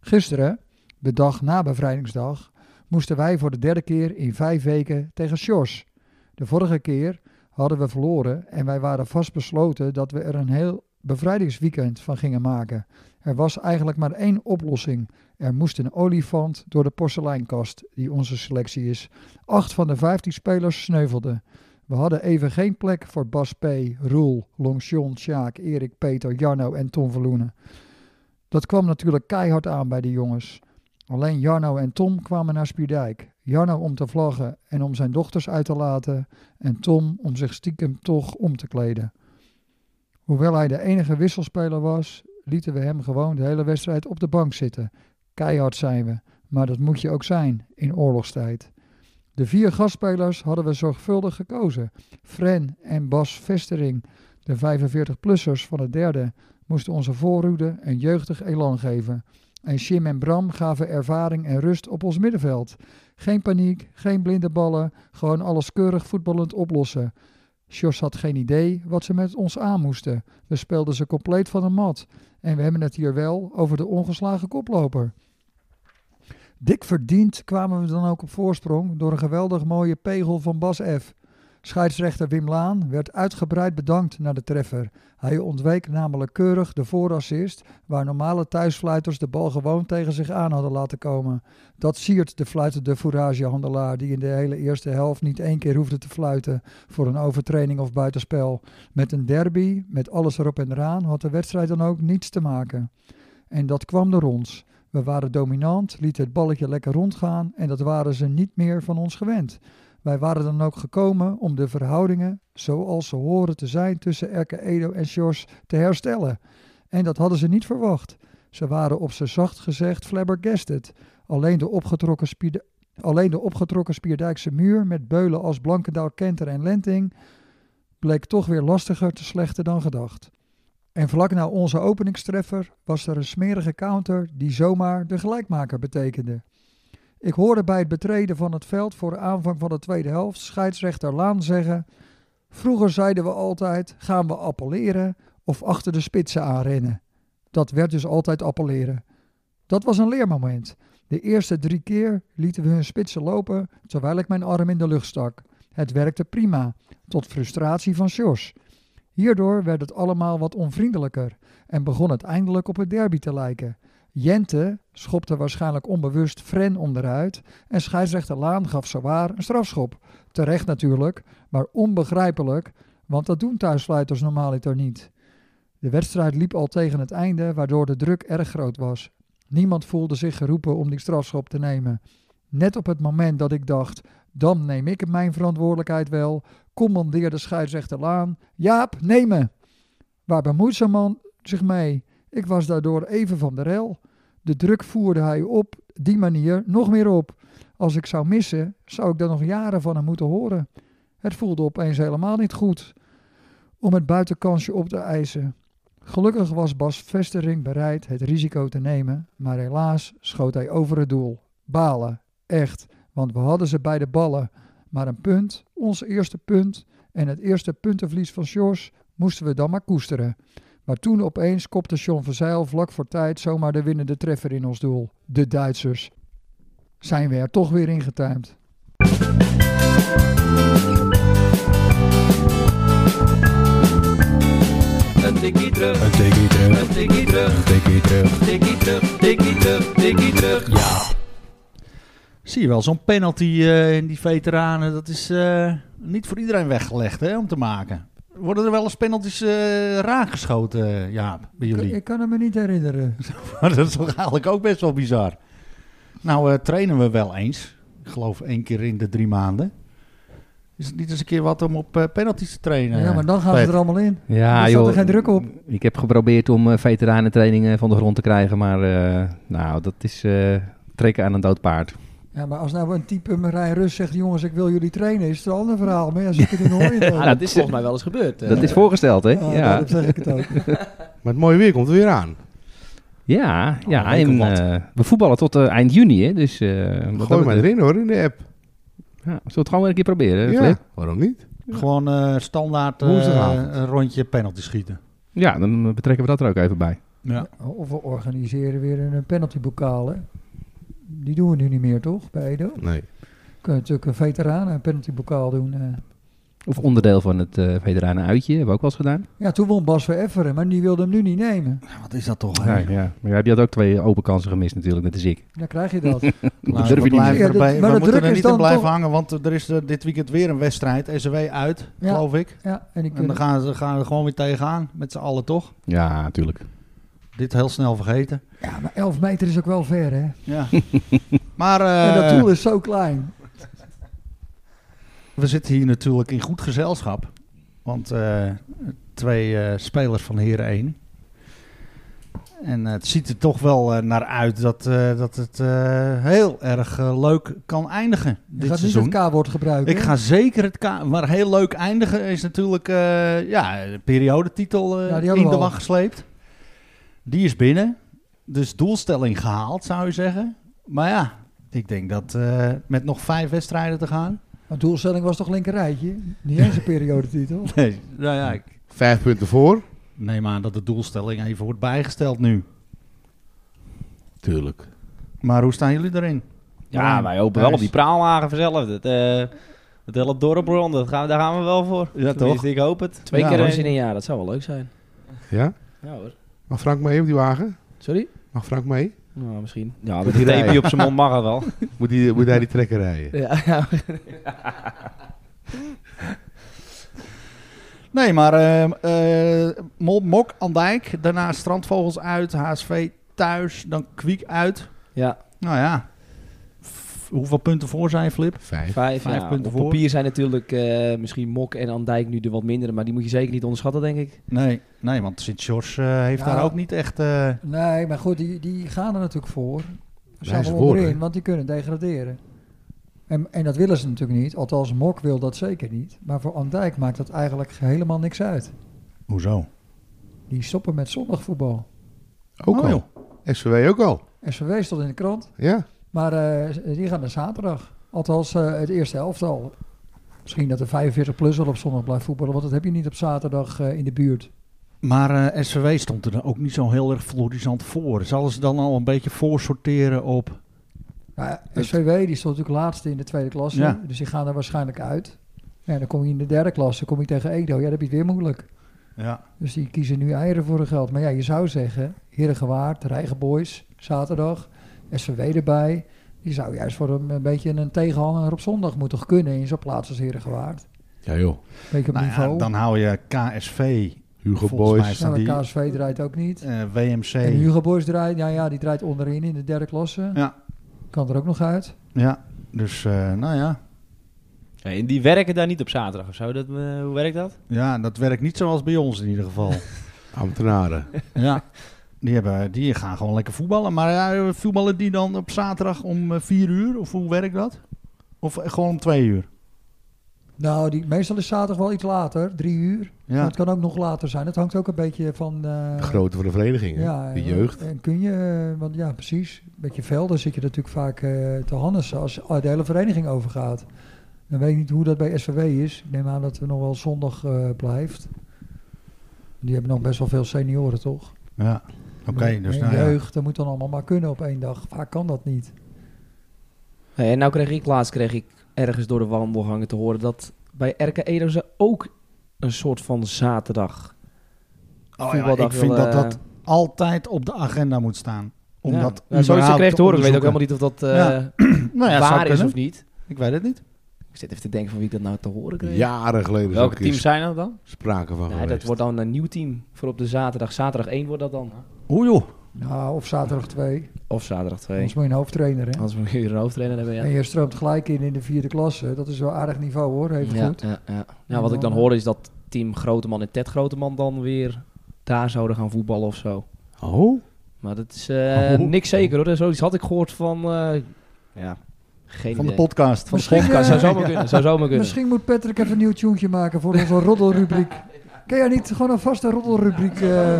S1: Gisteren, de dag na Bevrijdingsdag, moesten wij voor de derde keer in vijf weken tegen Sjors. De vorige keer hadden we verloren en wij waren vastbesloten dat we er een heel bevrijdingsweekend van gingen maken. Er was eigenlijk maar één oplossing. Er moest een olifant door de porseleinkast, die onze selectie is. Acht van de vijftien spelers sneuvelden. We hadden even geen plek voor Bas P., Roel, Longchamp, Sjaak, Erik, Peter, Jarno en Tom Verloenen. Dat kwam natuurlijk keihard aan bij de jongens. Alleen Jarno en Tom kwamen naar Spierdijk. Jarno om te vlaggen en om zijn dochters uit te laten en Tom om zich stiekem toch om te kleden. Hoewel hij de enige wisselspeler was, lieten we hem gewoon de hele wedstrijd op de bank zitten. Keihard zijn we, maar dat moet je ook zijn in oorlogstijd. De vier gastspelers hadden we zorgvuldig gekozen. Fren en Bas Vestering, de 45-plussers van het derde, moesten onze voorhoede een jeugdig elan geven. En Jim en Bram gaven ervaring en rust op ons middenveld. Geen paniek, geen blinde ballen, gewoon alles keurig voetballend oplossen. Sjors had geen idee wat ze met ons aan moesten. We speelden ze compleet van de mat. En we hebben het hier wel over de ongeslagen koploper. Dik verdiend kwamen we dan ook op voorsprong door een geweldig mooie pegel van Bas F. Scheidsrechter Wim Laan werd uitgebreid bedankt na de treffer. Hij ontweek namelijk keurig de voorassist, waar normale thuisfluiters de bal gewoon tegen zich aan hadden laten komen. Dat siert de fluitende fouragehandelaar, die in de hele eerste helft niet één keer hoefde te fluiten voor een overtreding of buitenspel. Met een derby, met alles erop en eraan, had de wedstrijd dan ook niets te maken. En dat kwam door ons. We waren dominant, lieten het balletje lekker rondgaan en dat waren ze niet meer van ons gewend. Wij waren dan ook gekomen om de verhoudingen, zoals ze horen te zijn tussen Erke Edo en Sjors, te herstellen. En dat hadden ze niet verwacht. Ze waren op z'n zacht gezegd flabbergasted. Alleen de opgetrokken spierde- Alleen de opgetrokken Spierdijkse muur met beulen als Blankendaal, Kenter en Lenting bleek toch weer lastiger te slechten dan gedacht. En vlak na onze openingstreffer was er een smerige counter die zomaar de gelijkmaker betekende. Ik hoorde bij het betreden van het veld voor de aanvang van de tweede helft scheidsrechter Laan zeggen: Vroeger zeiden we altijd: gaan we appelleren of achter de spitsen aanrennen. Dat werd dus altijd appelleren. Dat was een leermoment. De eerste drie keer lieten we hun spitsen lopen terwijl ik mijn arm in de lucht stak. Het werkte prima, tot frustratie van Sjors. Hierdoor werd het allemaal wat onvriendelijker en begon het eindelijk op het derby te lijken. Jente schopte waarschijnlijk onbewust Fren onderuit en scheidsrechter Laan gaf zowaar een strafschop. Terecht natuurlijk, maar onbegrijpelijk, want dat doen thuisfluiters normaaliter niet. De wedstrijd liep al tegen het einde, waardoor de druk erg groot was. Niemand voelde zich geroepen om die strafschop te nemen. Net op het moment dat ik dacht, dan neem ik mijn verantwoordelijkheid wel, commandeerde scheidsrechter Laan, Jaap, neem me! Waar bemoeit zo'n man zich mee? Ik was daardoor even van de rel. De druk voerde hij op die manier nog meer op. Als ik zou missen, zou ik daar nog jaren van hem moeten horen. Het voelde opeens helemaal niet goed om het buitenkansje op te eisen. Gelukkig was Bas Vestering bereid het risico te nemen, maar helaas schoot hij over het doel. Balen, echt, want we hadden ze bij de ballen. Maar een punt, ons eerste punt en het eerste puntenverlies van Sjors moesten we dan maar koesteren. Maar toen opeens kopte John Verzeil vlak voor tijd zomaar de winnende treffer in ons doel. De Duitsers. Zijn we er toch weer ingetuimd.
S7: Een tikkie terug,
S8: Een tikkie terug,
S7: een tikkie terug,
S8: een tikkie terug.
S7: tikkie terug, tikkie terug, tikkie terug.
S8: Ja.
S2: Zie je wel, zo'n penalty eh, in die veteranen, dat is eh, niet voor iedereen weggelegd hè, om te maken. Worden er wel eens penalties eh raakgeschoten, eh, Jaap, bij
S1: Ik,
S2: jullie?
S1: ik kan het me niet herinneren.
S2: Maar dat is toch eigenlijk ook best wel bizar. Nou, eh, trainen we wel eens. Ik geloof één keer in de drie maanden. Is het niet eens een keer wat om op eh, penalties te trainen?
S1: ja, maar dan gaan
S2: Pet?
S1: ze er allemaal in.
S6: Ja,
S1: Er staat
S6: Ah, joh.
S1: er geen druk op.
S6: Ik heb geprobeerd om eh, veteranentrainingen van de grond te krijgen, maar eh, nou, dat is eh, trekken aan een dood paard.
S1: Ja, maar als nou een type Marijn Rus zegt, jongens, ik wil jullie trainen, is het een ander verhaal. Maar ja, als ik het in hoor je het wel.
S4: Ah,
S6: dat
S4: dat
S6: is-
S4: is volgens mij wel eens gebeurd. eh.
S6: Dat is voorgesteld, hè?
S1: Ah,
S6: ja.
S1: daarom zeg ik het ook.
S5: Maar het mooie weer komt er weer aan.
S6: Ja, ja
S2: leuk
S6: en,
S2: of wat?
S6: eh, we voetballen tot eh, eind juni, hè? Dus eh, wat dat
S5: Gooi maar
S6: betreft-
S5: erin hoor, in de app.
S6: Zullen we het gewoon weer een keer proberen,
S5: ja,
S6: Flip?
S5: waarom niet?
S2: Gewoon eh, standaard eh,
S5: Woensdagavond.
S2: een rondje penalty schieten.
S6: Ja, dan eh, betrekken we dat er ook even bij.
S2: Ja.
S1: Of we organiseren weer een penaltybokaal, hè? Die doen we nu niet meer, toch? Bij Edo. We
S5: Nee.
S1: kunnen natuurlijk een veteranen een penaltybokaal doen. eh.
S6: Of onderdeel van het eh veteranen uitje, hebben we ook wel eens gedaan.
S1: Ja, toen won Bas weer Efferen, maar die wilde hem nu niet nemen.
S2: Nou, Wat is dat toch? hè?
S6: Ja, ja. Maar jij had ook twee open kansen gemist natuurlijk, net als ik.
S1: Dan krijg je dat.
S2: Nou,
S6: durf
S2: we
S6: je niet
S2: blijven
S1: meer. Ja, dat-
S2: erbij.
S1: maar
S2: we
S1: de
S2: moeten
S1: druk
S2: er
S1: is
S2: niet in
S1: dan
S2: blijven
S1: toch-
S2: hangen, want er is eh, dit weekend weer een wedstrijd. SW uit,
S1: Ja.
S2: geloof ik.
S1: ja, en ik eh,
S2: En dan gaan ze gaan we gewoon weer tegenaan, met z'n allen toch?
S6: Ja, natuurlijk.
S2: Dit heel snel vergeten.
S1: Ja, maar 11 meter is ook wel ver, hè?
S2: Ja. maar eh,
S1: en dat doel is zo klein.
S2: we zitten hier natuurlijk in goed gezelschap. Want eh, twee eh, spelers van Heren 1. En eh, het ziet er toch wel eh, naar uit dat, eh, dat het eh, heel erg eh, leuk kan eindigen
S1: Je
S2: dit
S1: gaat niet
S2: seizoen.
S1: het K-woord gebruiken.
S2: Ik
S1: hè?
S2: ga zeker het ka- Maar heel leuk eindigen is natuurlijk eh, ja, de periodetitel eh,
S1: Ja, die hadden
S2: in
S1: we al.
S2: de wacht gesleept. Die is binnen. Dus doelstelling gehaald, zou je zeggen. Maar ja, ik denk dat eh, met nog vijf wedstrijden te gaan.
S1: Want doelstelling was toch linker rijtje? Niet eens een periodetitel.
S2: Nee, nou ja, ik
S5: Vijf punten voor.
S2: neem aan dat de doelstelling even wordt bijgesteld nu.
S5: Tuurlijk.
S2: Maar hoe staan jullie erin?
S3: Ja,
S2: Ja,
S3: wij hopen wel
S2: thuis.
S3: op die praalwagen vanzelf. Dat, eh het hele dorp rond, dat gaan, we- daar gaan we wel voor.
S2: Ja,
S3: Tenminste, Ik hoop het.
S4: Twee
S2: Ja,
S4: keer
S2: hoor.
S4: eens in een jaar, dat zou wel leuk zijn.
S5: Ja?
S4: Ja hoor.
S5: Mag Frank mee op die wagen?
S4: Sorry?
S5: Mag Frank mee?
S4: Nou, misschien.
S3: Ja,
S5: Moet
S3: met
S5: die
S3: die
S5: rijden?
S3: tape op zijn mond mag het wel.
S5: Moet, die, moet hij die trekker rijden?
S4: Ja, ja.
S2: Nee, maar eh, eh, Mol- Mok, Andijk. Daarna Strandvogels uit, HSV thuis. Dan Kwiek uit.
S4: ja
S2: Nou ja. F- hoeveel punten voor zijn, Flip?
S5: Vijf.
S4: vijf,
S2: Vijf
S4: ja.
S2: punten
S4: Op
S2: voor.
S4: papier zijn natuurlijk eh, misschien Mok en Andijk nu de wat mindere, maar die moet je zeker niet onderschatten, denk ik.
S2: Nee, nee want Sint-George eh, heeft
S1: Nou.
S2: daar ook niet echt... eh,
S1: Nee, maar goed, die, die gaan er natuurlijk voor. Ze
S5: Wij
S1: gaan
S5: ze
S1: er
S5: voor,
S1: onderin,
S5: hè?
S1: want die kunnen degraderen. En, en dat willen ze natuurlijk niet. Althans, Mok wil dat zeker niet. Maar voor Andijk maakt dat eigenlijk helemaal niks uit.
S2: Hoezo?
S1: Die stoppen met zondagvoetbal.
S5: Ook
S2: Oh,
S5: al. SVW ook al.
S1: SVW stond in de krant.
S5: Ja.
S1: Maar eh, die gaan naar zaterdag. Althans, eh, het eerste elftal. Misschien dat de 45-plus wel op zondag blijft voetballen. Want dat heb je niet op zaterdag eh, in de buurt.
S2: Maar eh SVW stond er dan ook niet zo heel erg florisant voor. Zullen ze dan al een beetje voorsorteren op...
S1: Nou, SVW die stond natuurlijk laatste in de tweede klasse.
S2: Ja.
S1: Dus die gaan er waarschijnlijk uit. En dan kom je in de derde klasse kom je tegen Edo. Ja, dan heb je het weer moeilijk.
S2: Ja.
S1: Dus die kiezen nu eieren voor hun geld. Maar ja, je zou zeggen, Herengewaard, Rijgenboys, zaterdag, SVW erbij. Die zou juist voor een, een beetje een tegenhanger op zondag moeten kunnen in zo'n plaats als Herengewaard.
S5: Ja joh.
S1: Beetje op
S2: Nou ja,
S1: niveau.
S2: dan hou je KSV,
S5: Hugo
S2: Volgens mij
S5: Boys.
S2: is- staan
S1: Ja, maar
S2: die-
S1: KSV draait ook niet.
S2: eh, WMC.
S1: En Hugo Boys draait, nou ja, die draait onderin in de derde klasse.
S2: Ja.
S1: Kan er ook nog uit.
S2: Ja, dus eh, nou ja.
S3: Ja, en die werken daar niet op zaterdag of zo. Dat, eh, hoe werkt dat?
S2: Ja, dat werkt niet zoals bij ons in ieder geval.
S5: Ambtenaren.
S2: ja. Die, hebben, die gaan gewoon lekker voetballen. Maar ja, voetballen die dan op zaterdag om eh, vier uur? Of hoe werkt dat? Of eh, gewoon om twee uur?
S1: Nou, die, meestal is zaterdag wel iets later, drie uur. Maar
S2: Ja.
S1: het kan ook nog later zijn. Het hangt ook een beetje van... eh,
S5: De grootte van de vereniging. hè?
S1: Ja,
S5: de
S1: en-
S5: jeugd.
S1: En kun je, eh, want ja, precies. Met je velden zit je natuurlijk vaak eh, te hannissen als de hele vereniging overgaat. Dan weet ik niet hoe dat bij SVW is. Ik neem aan dat we nog wel zondag eh, blijft. Die hebben nog best wel veel senioren, toch?
S2: Ja, oké. dus
S1: En
S2: nou ja.
S1: jeugd, dat moet dan allemaal maar kunnen op één dag. Vaak kan dat niet.
S4: Hey, en nou kreeg ik laatst kreeg ik ergens door de wandelgangen te horen dat bij RK Edo ze ook een soort van zaterdag
S2: Oh ja,
S4: voetbaldag
S2: ik vind
S4: wil,
S2: dat
S4: eh,
S2: dat altijd op de agenda moet staan. Om
S4: ja.
S2: dat
S4: Nou, zoiets
S2: überhaupt
S4: kreeg te horen. Ik weet ook helemaal
S2: onderzoeken.
S4: niet of dat eh,
S2: Ja. Nou ja, zou
S4: waar is
S2: kunnen.
S4: of niet.
S2: Ik weet het niet.
S4: Ik zit even te denken van wie ik dat nou te horen kreeg.
S5: Jaren geleden is ook
S3: Welke
S5: een keer
S3: teams zijn dat dan?
S5: sprake van
S4: Nee,
S5: geweest.
S4: dat wordt dan een nieuw team voor op de zaterdag. Zaterdag 1 wordt dat dan.
S2: Oeh joh.
S1: Nou, of zaterdag twee.
S4: Of zaterdag 2.
S1: Anders moet je een hoofdtrainer, hè?
S2: Oh,
S4: Anders moet je een hoofdtrainer hebben, ja.
S1: En je stroomt gelijk in in de vierde klasse. Dat is wel aardig niveau, hoor. Even
S4: ja,
S1: goed. eh,
S4: ja, ja. Nou, wat ik dan hoorde is dat team Groteman en Ted Groteman dan weer daar zouden gaan voetballen of zo.
S5: Oh?
S4: Maar dat is eh,
S2: Oh.
S4: niks zeker hoor. Zoiets had ik gehoord van... eh, ja, geen
S2: Van de
S4: idee.
S2: podcast.
S4: Van de
S1: Misschien,
S4: podcast. Zou
S1: eh,
S4: zomaar kunnen. Zou zomaar kunnen.
S1: Misschien moet Patrick even een nieuw tuentje maken voor onze roddelrubriek. Ken jij niet gewoon een vaste roddelrubriek? eh,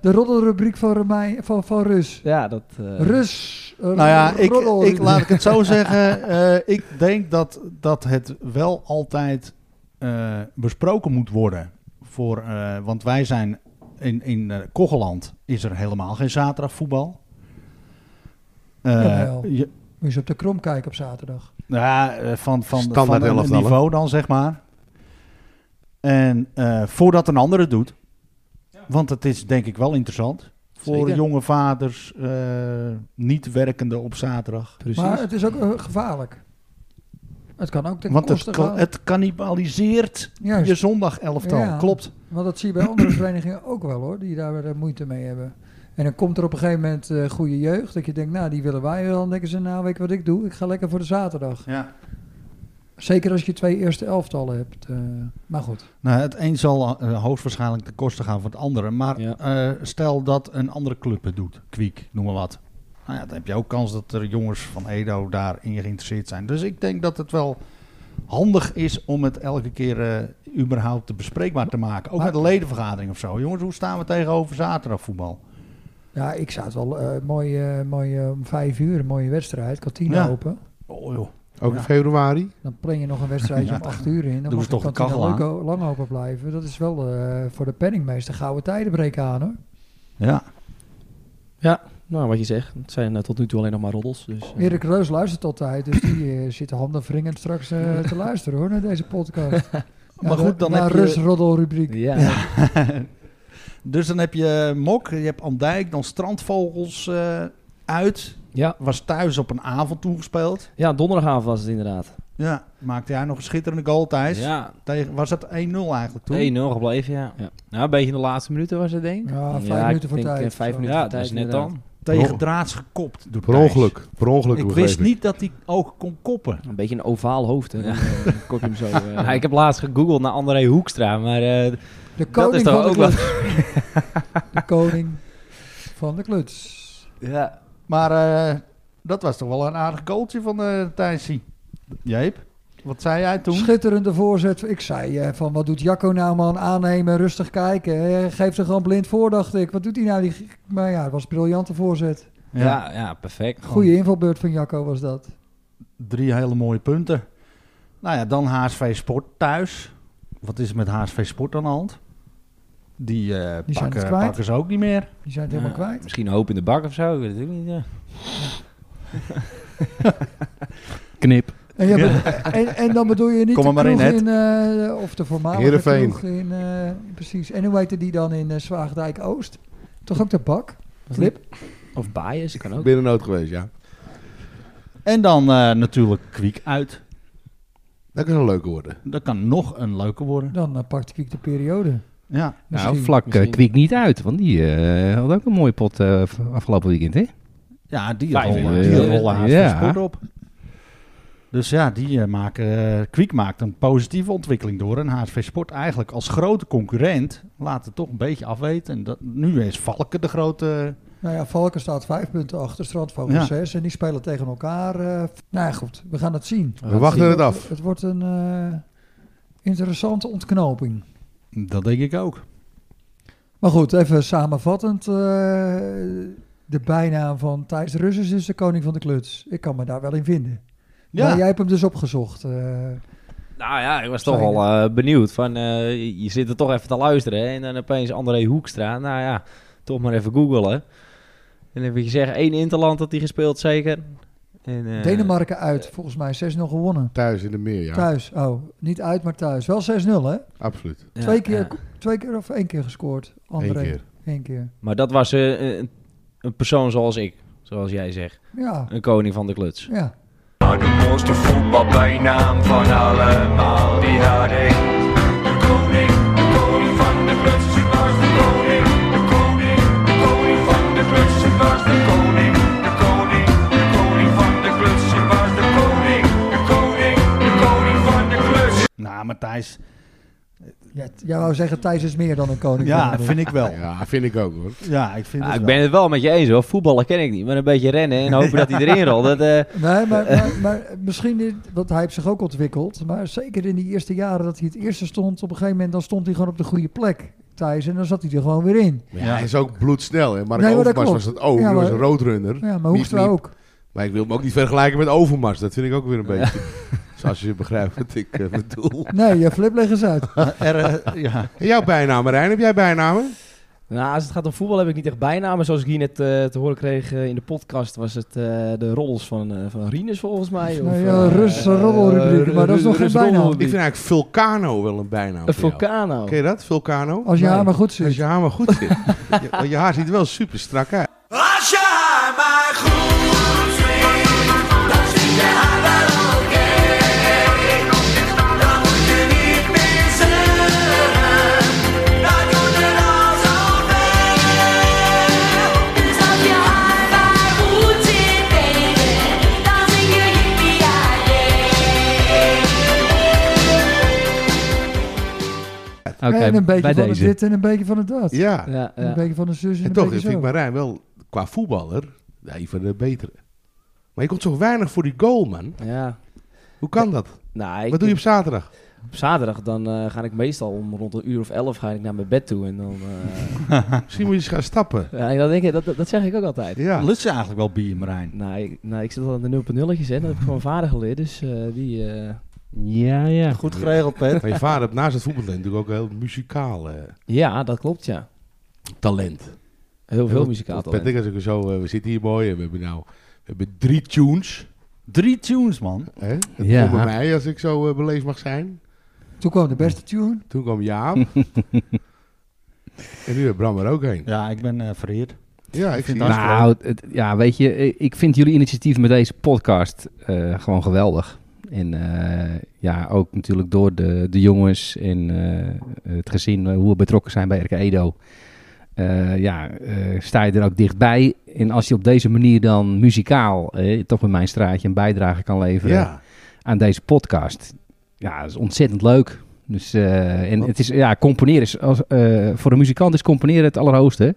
S1: de roddelrubriek van, Romein, van, van Rus.
S4: Ja, dat... eh,
S1: Rus. eh,
S2: Nou ja, ik,
S1: roddelrubriek.
S2: ik, laat ik het zo zeggen. eh, ik denk dat, dat het wel altijd eh, besproken moet worden. Voor, eh, want wij zijn in, in eh, Kogeland is er helemaal geen zaterdagvoetbal. Eh,
S1: Jawel.
S2: je-
S1: Moet je eens op de krom kijken op zaterdag.
S2: nou ja, eh, van, van,
S5: Standaard
S2: van een
S5: elftal, hè?
S2: niveau dan, zeg maar. En eh, voordat een ander het doet. Want het is denk ik wel interessant. Voor
S4: Zeker.
S2: jonge vaders, eh, niet werkende op zaterdag.
S4: precies.
S1: Maar het is ook eh, gevaarlijk. Het kan ook ten
S2: Want het,
S1: koste
S2: ka-
S1: gaan.
S2: het cannibaliseert
S1: Juist,
S2: je zondag elftal.
S1: Ja.
S2: Klopt.
S1: want dat zie je bij andere verenigingen ook wel hoor, die daar eh, moeite mee hebben. En dan komt er op een gegeven moment eh, goede jeugd, dat je denkt, nou die willen wij wel. Dan denken ze, nou weet je wat ik doe? Ik ga lekker voor de zaterdag.
S2: Ja.
S1: Zeker als je twee eerste elftallen hebt. eh, maar goed.
S2: Nou, het een zal eh, hoogstwaarschijnlijk ten koste gaan van het andere. Maar
S4: Ja.
S2: eh, stel dat een andere club het doet. Kwiek, noem maar wat. Nou ja, dan heb je ook kans dat er jongens van Edo daarin geïnteresseerd zijn. Dus ik denk dat het wel handig is om het elke keer eh, überhaupt te bespreekbaar te maken. Ook
S1: Maar-
S2: met de ledenvergadering of zo. Jongens, hoe staan we tegenover zaterdagvoetbal?
S1: Ja, ik zou het wel eh, mooi, eh, mooi eh, om vijf uur, een mooie wedstrijd, kantine
S2: Ja.
S1: open.
S2: Oh joh.
S5: Ook
S2: Ja.
S5: in februari.
S1: Dan plan je nog een wedstrijdje
S2: Ja.
S1: om acht uur in. Dan
S2: Doen
S1: moet
S2: ze toch
S1: de
S2: een
S1: kantine
S2: kachel
S1: leuk o- lang open blijven. Dat is wel eh, voor de penningmeester gouden tijden breken aan hoor.
S2: Ja.
S4: Nou, wat je zegt. Het zijn eh, tot nu toe alleen nog maar roddels. Dus, eh,
S1: Erik Reus luistert altijd, dus die eh, zit handen wringend straks eh, te luisteren hoor, naar deze podcast.
S2: Maar goed, dan
S1: naar
S2: heb je-
S1: Rus roddelrubriek.
S4: Ja,
S2: dus dan heb je Mok, je hebt Andijk, dan Strandvogels eh, uit.
S4: Ja.
S2: Was thuis op een avond toegespeeld.
S4: ja, donderdagavond was het inderdaad.
S2: Ja, maakte hij nog een schitterende goal, Thijs.
S3: Ja, 1-0
S2: Tegen, was dat 1-0 eigenlijk toen?
S3: gebleven, ja.
S4: Ja.
S3: Nou, een beetje in de laatste minuten was het, denk ik.
S1: Ja, Ah, vijf
S4: Ja, ik
S1: minuten voor
S4: denk, eh,
S1: tijd.
S4: vijf
S1: Zo.
S4: minuten.
S3: Ja,
S4: voor
S3: dat is
S4: tijd,
S3: net dan.
S2: Tegen draads gekopt door
S5: Per
S2: Thijs.
S5: ongeluk. Per ongeluk.
S2: Ik
S5: begreep
S2: wist niet dat hij ook kon koppen.
S4: Een beetje een ovaal hoofd. Hè. Dan, eh, Dan kop je hem zo. eh,
S3: Ja, ik heb laatst gegoogeld naar André Hoekstra, maar eh,
S1: De
S3: dat is
S1: koning
S3: toch
S1: van de
S3: ook wel...
S1: kluts. De koning van de kluts.
S3: Ja.
S2: Maar eh, dat was toch wel een aardig goaltje van eh Thijsie. Jeep, wat zei jij toen?
S1: Schitterende voorzet. Ik zei eh, van wat doet Jacco nou man? Aannemen, rustig kijken. Eh, geef er gewoon blind voor, dacht ik. Wat doet hij nou? Die... Maar ja, het was een briljante voorzet.
S3: Ja. ja, perfect.
S1: Goede invalbeurt van Jacco was dat.
S2: Drie hele mooie punten. Nou ja, dan HSV Sport thuis. Wat is er met HSV Sport aan de hand? Die, eh,
S1: Die zijn
S2: pakken,
S1: het kwijt.
S2: pakken ze ook niet meer.
S1: Die zijn het helemaal
S3: Ja,
S1: kwijt.
S3: Misschien een hoop in de bak of zo, ik weet het ook niet. Ja.
S6: Knip.
S1: En, je bent- en, en dan bedoel je niet
S2: Kom er
S1: de
S2: maar in,
S1: kroeg
S2: Ed.
S1: in, eh, of de voormalige
S5: Heerenveen.
S1: kroeg in, eh, precies. En hoe heette die dan in eh, Zwaagdijk-Oost? Toch ook de bak?
S4: was
S1: Flip?
S4: het- Of bias, kan
S5: Ik
S4: ook.
S5: ben er nooit geweest, ja.
S2: En dan eh, natuurlijk Kwiek uit.
S5: Dat kan een leuke worden.
S2: Dat kan nog een leuke worden.
S1: Dan eh, pakte ik de periode.
S2: Ja,
S6: Nou,
S1: Misschien.
S6: vlak
S4: misschien.
S6: eh, kwiek niet uit, want die eh, had ook een mooie pot eh, v- afgelopen weekend, hè?
S2: ja die
S3: Vijf
S2: rollen,
S3: uur.
S2: die
S3: Ja.
S2: rollen haast
S6: Ja.
S2: de sport op. Dus ja, die eh, maken, eh, Kwiek maakt een positieve ontwikkeling door. En HSV Sport eigenlijk als grote concurrent laat het toch een beetje afweten. En dat, nu is Valken de grote...
S1: Nou ja, Valken staat vijf punten achter, Strandvogel
S2: Ja.
S1: zes. En die spelen tegen elkaar. eh, nou ja, goed, we gaan het zien.
S5: We wachten het af.
S1: Het wordt een eh, interessante ontknoping.
S2: Dat denk ik ook.
S1: Maar goed, even samenvattend. eh, de bijnaam van Thijs Russers is de koning van de kluts. Ik kan me daar wel in vinden. Ja.
S2: Nou, Ja.
S1: Maar jij hebt hem dus opgezocht. eh.
S3: Nou ja, ik was
S1: Zijn
S3: toch al eh, benieuwd. Van, eh, je zit er toch even te luisteren hè, en dan opeens André Hoekstra. Nou ja, toch maar even googelen. En dan wil je zeggen, één Interland had hij gespeeld zeker. En, eh,
S1: Denemarken uit, volgens mij 6-0 gewonnen.
S5: Thuis in de meer, ja.
S1: Thuis, oh, niet uit, maar thuis. Wel 6-0 hè?
S5: Absoluut.
S3: ja,
S1: twee, keer,
S3: ja.
S1: twee keer of één keer gescoord,
S5: Eén
S1: André?
S5: keer.
S1: Eén keer.
S3: Maar dat was eh, een, een persoon zoals ik, zoals jij zegt.
S1: Ja,
S3: Een koning van de kluts.
S1: ja.
S8: Maar de mooiste voetbalbijnaam van allemaal, die had ik. De koning, de koning van de kluts, het was de koning. De koning, de koning van de kluts, het was de koning. De koning, de koning van de kluts, het was de koning. De koning, de koning van de kluts.
S2: Nou, Matthijs,
S1: Ja, t- Jij wou zeggen, Thijs is meer dan een koning.
S2: ja,
S1: van de-
S2: vind ik wel.
S5: Ja, vind ik ook hoor.
S2: Ja, ik vind
S3: Ja,
S2: het
S3: Ah, ik
S2: wel.
S3: ben het wel met je eens hoor. Voetballen ken ik niet, maar een beetje rennen en hopen dat hij erin rolt. Dat, eh,
S1: Nee, maar, maar, maar misschien, dit- want hij heeft zich ook ontwikkeld. Maar zeker in die eerste jaren dat hij het eerste stond, op een gegeven moment dan stond hij gewoon op de goede plek. Thijs en dan zat hij er gewoon weer in.
S5: Maar
S2: Ja.
S5: ja, hij is ook bloedsnel. Hè? Mark
S1: Nee, maar dat klopt.
S5: Overmars was dat ook.
S1: Ja,
S5: die was
S1: maar-
S5: een roadrunner.
S1: Ja, maar
S5: Miep,
S1: Hoekstra
S5: miep.
S1: ook.
S5: Maar ik wil hem ook niet vergelijken met Overmars. Dat vind ik ook weer een beetje. Zoals je begrijpt wat ik eh, bedoel.
S1: Nee, je flip leg eens uit.
S2: Er, eh, ja.
S5: En jouw bijnaam, Rijn, heb jij bijnamen?
S4: Nou, als het gaat om voetbal heb ik niet echt bijnamen. Zoals ik hier net eh, te horen kreeg eh, in de podcast, was het eh, de roddels van, eh van Rinus volgens mij. Of,
S1: Nou ja,
S4: eh,
S1: Rus,
S4: eh,
S1: roddelrubrieken, maar dat is nog
S4: Rus-
S1: geen
S4: Rus-
S1: bijnaam.
S5: Ik vind eigenlijk Vulcano wel een bijnaam.
S4: Een
S5: voor jou.
S4: vulcano.
S5: Ken je dat? Vulcano?
S1: Als je
S5: Nee.
S1: haar maar goed
S5: Als
S1: zit.
S5: je haar maar goed zit. je, want je haar ziet er wel super strak uit.
S8: Als je haar maar goed zweet, dan zit je haar wel oké. Dan moet je niet meer zeuren, dat doet er al zoveel.
S9: Dus als je haar maar goed zit, baby, dan zing je Yippie
S6: Oké,
S1: en een beetje
S6: bij
S1: van
S6: deze.
S1: het dit en een beetje van het dat.
S5: Ja.
S4: Ja,
S1: En Een
S4: ja.
S1: beetje van de zus en,
S5: En
S1: een
S5: toch
S1: beetje
S5: vind ik
S1: zo.
S5: Marijn wel, qua voetballer, een van de betere. Maar je komt zo weinig voor die goal, man.
S4: ja.
S5: Hoe kan dat?
S4: Nou, ik,
S5: Wat doe je op zaterdag?
S4: op zaterdag? Dan eh, ga ik meestal om rond een uur of elf ga ik naar mijn bed toe. En dan, eh,
S5: Misschien moet je eens gaan stappen.
S4: ja, en dan denk ik, dat, dat, dat zeg ik ook altijd.
S5: Ja.
S2: Lust ze eigenlijk wel bier, Marijn?
S4: Nou, ik, nou, ik zit al aan de 0.0'tjes en dat heb ik van mijn vader geleerd. Dus eh, die... eh,
S6: Ja, ja.
S2: Goed geregeld, Pet.
S5: Maar je vader heeft naast het voetbaltalent natuurlijk ook een heel muzikaal eh,
S4: ja, dat klopt, ja.
S5: talent.
S4: Heel veel muzikaal
S5: talent.
S4: talent.
S5: Patrick, als ik zo, eh, we zitten hier mooi en we hebben nou we hebben drie tunes.
S2: Drie tunes, man.
S5: Hè? Dat
S6: Ja.
S5: kwam bij mij, als ik zo eh, beleefd mag zijn.
S1: Toen kwam de beste tune.
S5: Toen kwam Jaap. en nu heeft Bram er ook heen.
S2: Ja, ik ben eh vereerd.
S5: Ja, ik
S2: vind
S5: zie
S2: dat-
S6: Nou, het- ja, weet je, eh, ik vind jullie initiatief met deze podcast eh, gewoon geweldig. En eh, ja, ook natuurlijk door de, de jongens en eh, het gezin, eh, hoe we betrokken zijn bij RK Edo. Eh, ja, eh, sta je er ook dichtbij. En als je op deze manier dan muzikaal, eh, toch in mijn straatje, een bijdrage kan leveren
S5: Ja.
S6: aan deze podcast. Ja, dat is ontzettend leuk. Dus, eh, en het is, ja, componeren is, als, eh, voor een muzikant is componeren het allerhoogste.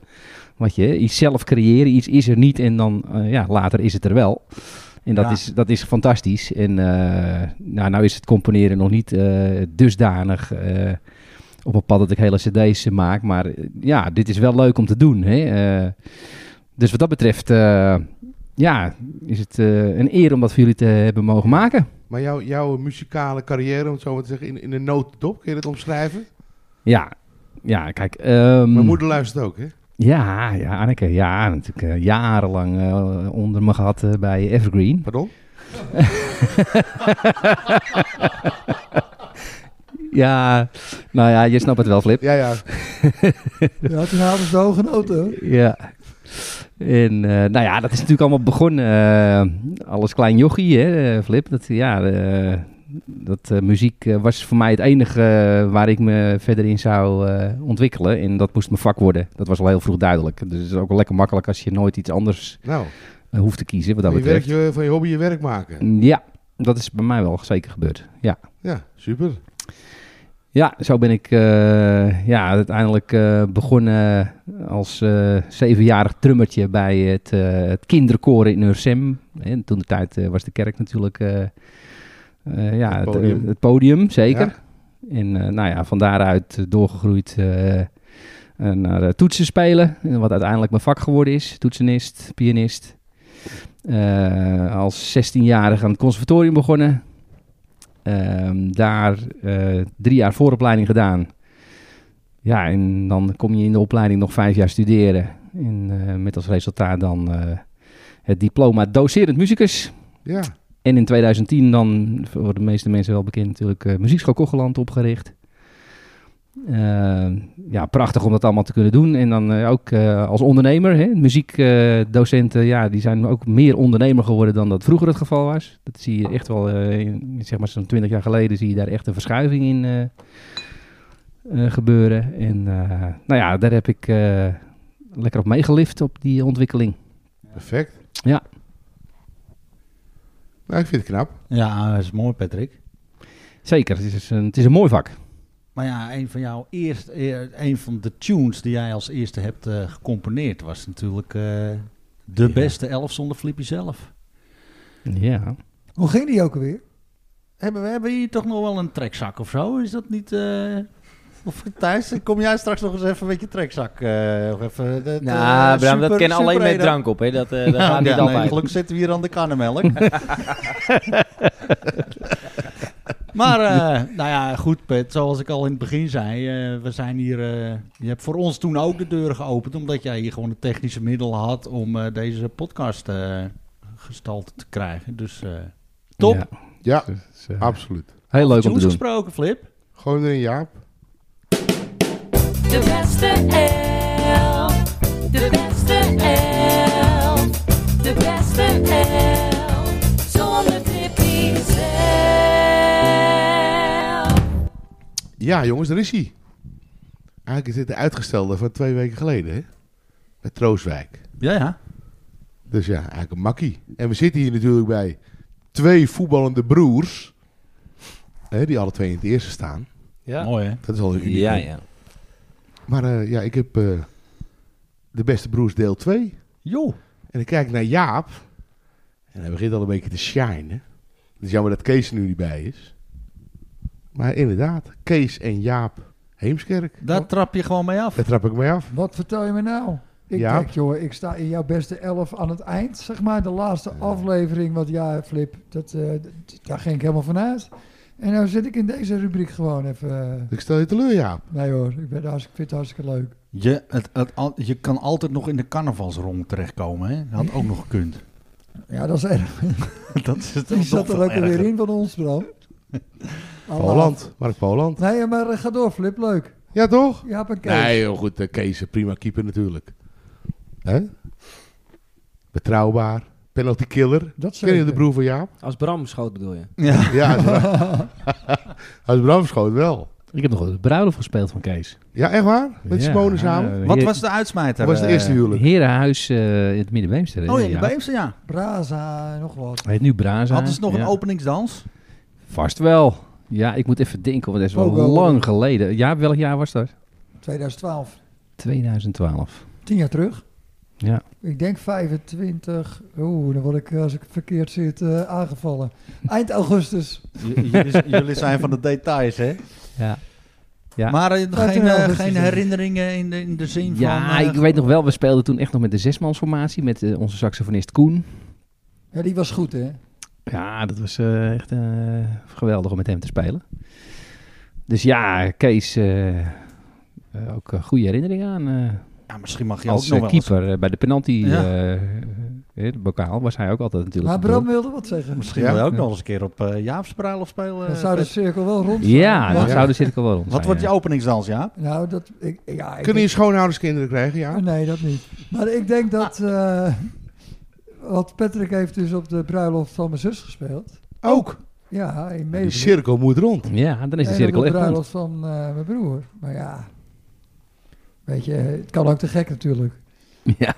S6: Wat je, iets zelf creëren, iets is er niet en dan, eh, ja, later is het er wel. En dat,
S2: Ja.
S6: is, dat is fantastisch. En eh, nou, nou is het componeren nog niet eh, dusdanig eh, op een pad dat ik hele cd's maak. Maar eh, ja, dit is wel leuk om te doen. Hè? Eh, dus wat dat betreft, eh, ja, is het eh, een eer om dat voor jullie te hebben mogen maken.
S5: Maar jouw- jouw muzikale carrière, om het zo maar te zeggen, in, in een notendop, kun je dat omschrijven?
S6: Ja, ja, kijk. ehm,
S5: Mijn moeder luistert ook, hè?
S6: Ja, ja, Anneke, ja, natuurlijk eh, jarenlang eh, onder me gehad eh, bij Evergreen.
S5: Pardon?
S6: Ja, nou ja, je snapt het wel, Flip.
S5: Ja, ja.
S1: Ja, toen hadden ze de hoge noten. hoor.
S6: Ja. En eh, nou ja, dat is natuurlijk allemaal begonnen. eh, alles klein jochie, hè, eh, Flip. Dat, ja, eh, dat eh, muziek eh, was voor mij het enige eh, waar ik me verder in zou eh, ontwikkelen. En dat moest mijn vak worden. Dat was al heel vroeg duidelijk. Dus het is ook wel lekker makkelijk als je nooit iets anders
S5: Nou,
S6: eh, hoeft te kiezen. Wat dat
S5: van je, werk,
S6: betreft. Mm.
S5: je, van je hobby je werk maken.
S6: Ja, dat is bij mij wel zeker gebeurd. Ja,
S5: Ja, super.
S6: ja zo ben ik eh, ja, uiteindelijk eh, begonnen als eh, zevenjarig trummertje bij het, eh, het kinderkoren in Ursem. En toen de tijd was de kerk natuurlijk eh, eh, ja,
S5: Het
S6: het,
S5: podium.
S6: het, podium, zeker. En eh, nou ja, van daaruit doorgegroeid eh, eh, naar eh, toetsen spelen. En Wat uiteindelijk mijn vak geworden is. Toetsenist, pianist. Eh, als 16-jarige aan het conservatorium begonnen. Ehm, daar eh, drie jaar vooropleiding gedaan. Ja, en dan kom je in de opleiding nog vijf jaar studeren. En eh, met als resultaat dan eh, het diploma docerend muzikus.
S5: Ja.
S6: En in 2010 dan, voor de meeste mensen wel bekend natuurlijk, eh, Muziekschool Kocheland opgericht. Eh, ja, prachtig om dat allemaal te kunnen doen. En dan eh, ook eh, als ondernemer. hè. Muziekdocenten, ja, die zijn ook meer ondernemer geworden dan dat vroeger het geval was. Dat zie je echt wel, eh, in, zeg maar zo'n 20 jaar geleden zie je daar echt een verschuiving in eh, eh, gebeuren. En eh, nou ja, daar heb ik eh, lekker op meegelift op die ontwikkeling.
S5: Perfect.
S6: Ja.
S5: Nou, ik vind het knap.
S2: Ja, dat is mooi, Patrick.
S6: Zeker, het is een, het is een mooi vak.
S2: Maar ja, een van jouw eerst, eh, een van de tunes die jij als eerste hebt eh, gecomponeerd was natuurlijk eh, de
S5: Ja.
S2: beste elf zonder Flippy zelf.
S6: Ja.
S1: Hoe ging die ook alweer?
S2: Hebben we hebben hier toch nog wel een trekzak of zo? Is dat niet? eh, Of Thijs, kom jij straks nog eens even met je trekzak? eh, nog even het, eh,
S3: nou, Bram, dat
S2: super-
S3: kennen alleen met
S2: superedo.
S3: drank op, hè? Dat, eh dat gaat niet
S2: Ja, nee,
S3: altijd.
S2: gelukkig zitten we hier aan de karnemelk. maar, eh, nou ja, goed Pet, zoals ik al in het begin zei, eh, we zijn hier, eh, je hebt voor ons toen ook de deuren geopend, omdat jij hier gewoon het technische middel had om eh, deze podcast eh, gestalte te krijgen. Dus eh, top.
S6: Ja,
S5: Ja,
S6: dus, eh,
S5: absoluut.
S6: heel leuk om te
S2: Tunes
S6: doen.
S2: gesproken, Flip.
S5: Gewoon erin, Jaap.
S9: De beste elf. De beste elf. De beste elf. Zonder Tippy zelf.
S5: Ja, jongens, daar is hij. Eigenlijk is dit de uitgestelde van twee weken geleden, hè? Met Trooswijk.
S2: Ja, ja.
S5: Dus ja, eigenlijk een makkie. En we zitten hier natuurlijk bij twee voetballende broers. Hè, die alle twee in het eerste staan.
S4: Ja.
S2: Mooi hè?
S5: Dat is al een uniek.
S3: Ja, ja.
S5: Maar eh, ja, ik heb eh, de beste broers deel 2.
S2: Jo.
S5: En ik kijk naar Jaap. En hij begint al een beetje te shinen. Het is jammer dat Kees er nu niet bij is. Maar inderdaad, Kees en Jaap Heemskerk.
S2: Daar trap je gewoon mee af.
S5: Daar trap ik mee af.
S1: Wat vertel je me nou? Ik
S5: Ja.
S1: denk, joh, ik sta in jouw beste elf aan het eind. Zeg maar, de laatste aflevering. Want ja, Flip, dat, eh, d- daar ging ik helemaal vanuit. En nou zit ik in deze rubriek gewoon even... eh,
S5: Ik stel je teleur, Jaap.
S1: nee hoor, ik, ben hartstikke, ik vind het hartstikke leuk.
S2: Je, het, het al- je kan altijd nog in de carnavalsrond terechtkomen hè? Dat had ook nog gekund.
S1: Ja, dat is erg.
S2: Dat is het
S1: Die zat er ook
S2: weer
S1: weer in van ons, Bram. Oh.
S5: Poland. Mark Poland.
S1: Nee, maar eh, ga door, Flip. Leuk.
S5: Ja, toch?
S1: Jaap en Kees.
S5: Nee, heel goed. eh, Kees, een prima keeper natuurlijk. Hè? Betrouwbaar. Penalty killer.
S1: Dat
S5: Ken je
S1: zeker.
S5: de broer van Jaap?
S4: Als Bram schoot bedoel je?
S2: Ja.
S5: Ja, als Bram schoot wel.
S6: Ik heb nog wel de bruiloft gespeeld van Kees.
S5: Ja, echt waar? Met
S6: Ja,
S5: Simone samen?
S6: eh,
S2: Wat
S6: heer-
S2: was de uitsmijter?
S5: Dat was het eerste
S2: eh?
S5: huwelijk.
S6: Herenhuis eh, in het Middenbeemster. hè?
S2: Oh ja, de
S6: Ja.
S2: Beemster, ja.
S1: Braza en nog wat.
S6: Hij heet nu Braza.
S2: Hadden ze nog
S6: ja.
S2: een openingsdans?
S6: Vast wel. Ja, ik moet even denken, want dat is wel,
S1: Ook wel.
S6: lang geleden. Ja, welk jaar was dat?
S1: 2012.
S6: 2012.
S1: Tien jaar terug.
S6: Ja.
S1: Ik denk 25. Oeh, dan word ik, eh, als ik verkeerd zit, eh, aangevallen. Eind augustus.
S2: jullie, zijn van de details, hè?
S6: Ja, Ja.
S2: Maar eh,
S1: Laten
S2: geen,
S1: we
S2: eh,
S1: wel eens
S2: geen
S1: doen.
S2: herinneringen in de, in de zin van...
S6: ja
S2: eh,
S6: ik weet nog wel, we speelden toen echt nog met de zesmansformatie met eh, onze saxofonist Koen.
S1: Ja, die was goed, hè?
S6: Ja, dat was eh, echt eh, geweldig om met hem te spelen. Dus ja, Kees, eh, eh, ook een goede herinnering aan. eh,
S2: ja, misschien mag je ook
S6: als
S2: nog
S6: eh,
S2: wel eens-
S6: keeper eh, bij de penalty,
S2: Ja.
S6: eh, eh, de bokaal, was hij ook altijd natuurlijk.
S1: Maar
S6: de broer.
S1: Bram wilde wat zeggen.
S2: Misschien
S5: Ja.
S2: wil je ook nog eens een keer op eh Jaap's bruiloft spelen.
S1: Dan
S2: eh,
S1: zou de
S2: Pet.
S1: cirkel wel rond zijn.
S6: Ja, dat
S5: Ja.
S6: dus- zou de cirkel wel rond
S2: Wat
S6: zijn,
S2: wordt je
S6: ja.
S2: openingsdans, Jaap?
S1: Nou, dat... Ik, ja, ik
S5: Kunnen Ah. je schoonouders kinderen krijgen, ja?
S1: Ah, Nee, dat niet. Maar ik denk dat... eh, wat Patrick heeft dus op de bruiloft van mijn zus gespeeld.
S5: Ook.
S1: Ja, in
S5: Die
S1: Meebroek.
S5: cirkel moet rond.
S6: Ja, dan is de
S1: En
S6: cirkel
S1: op de
S6: echt rond.
S1: bruiloft van eh, mijn broer. Maar ja... Weet je, het kan ook te gek natuurlijk.
S6: Ja.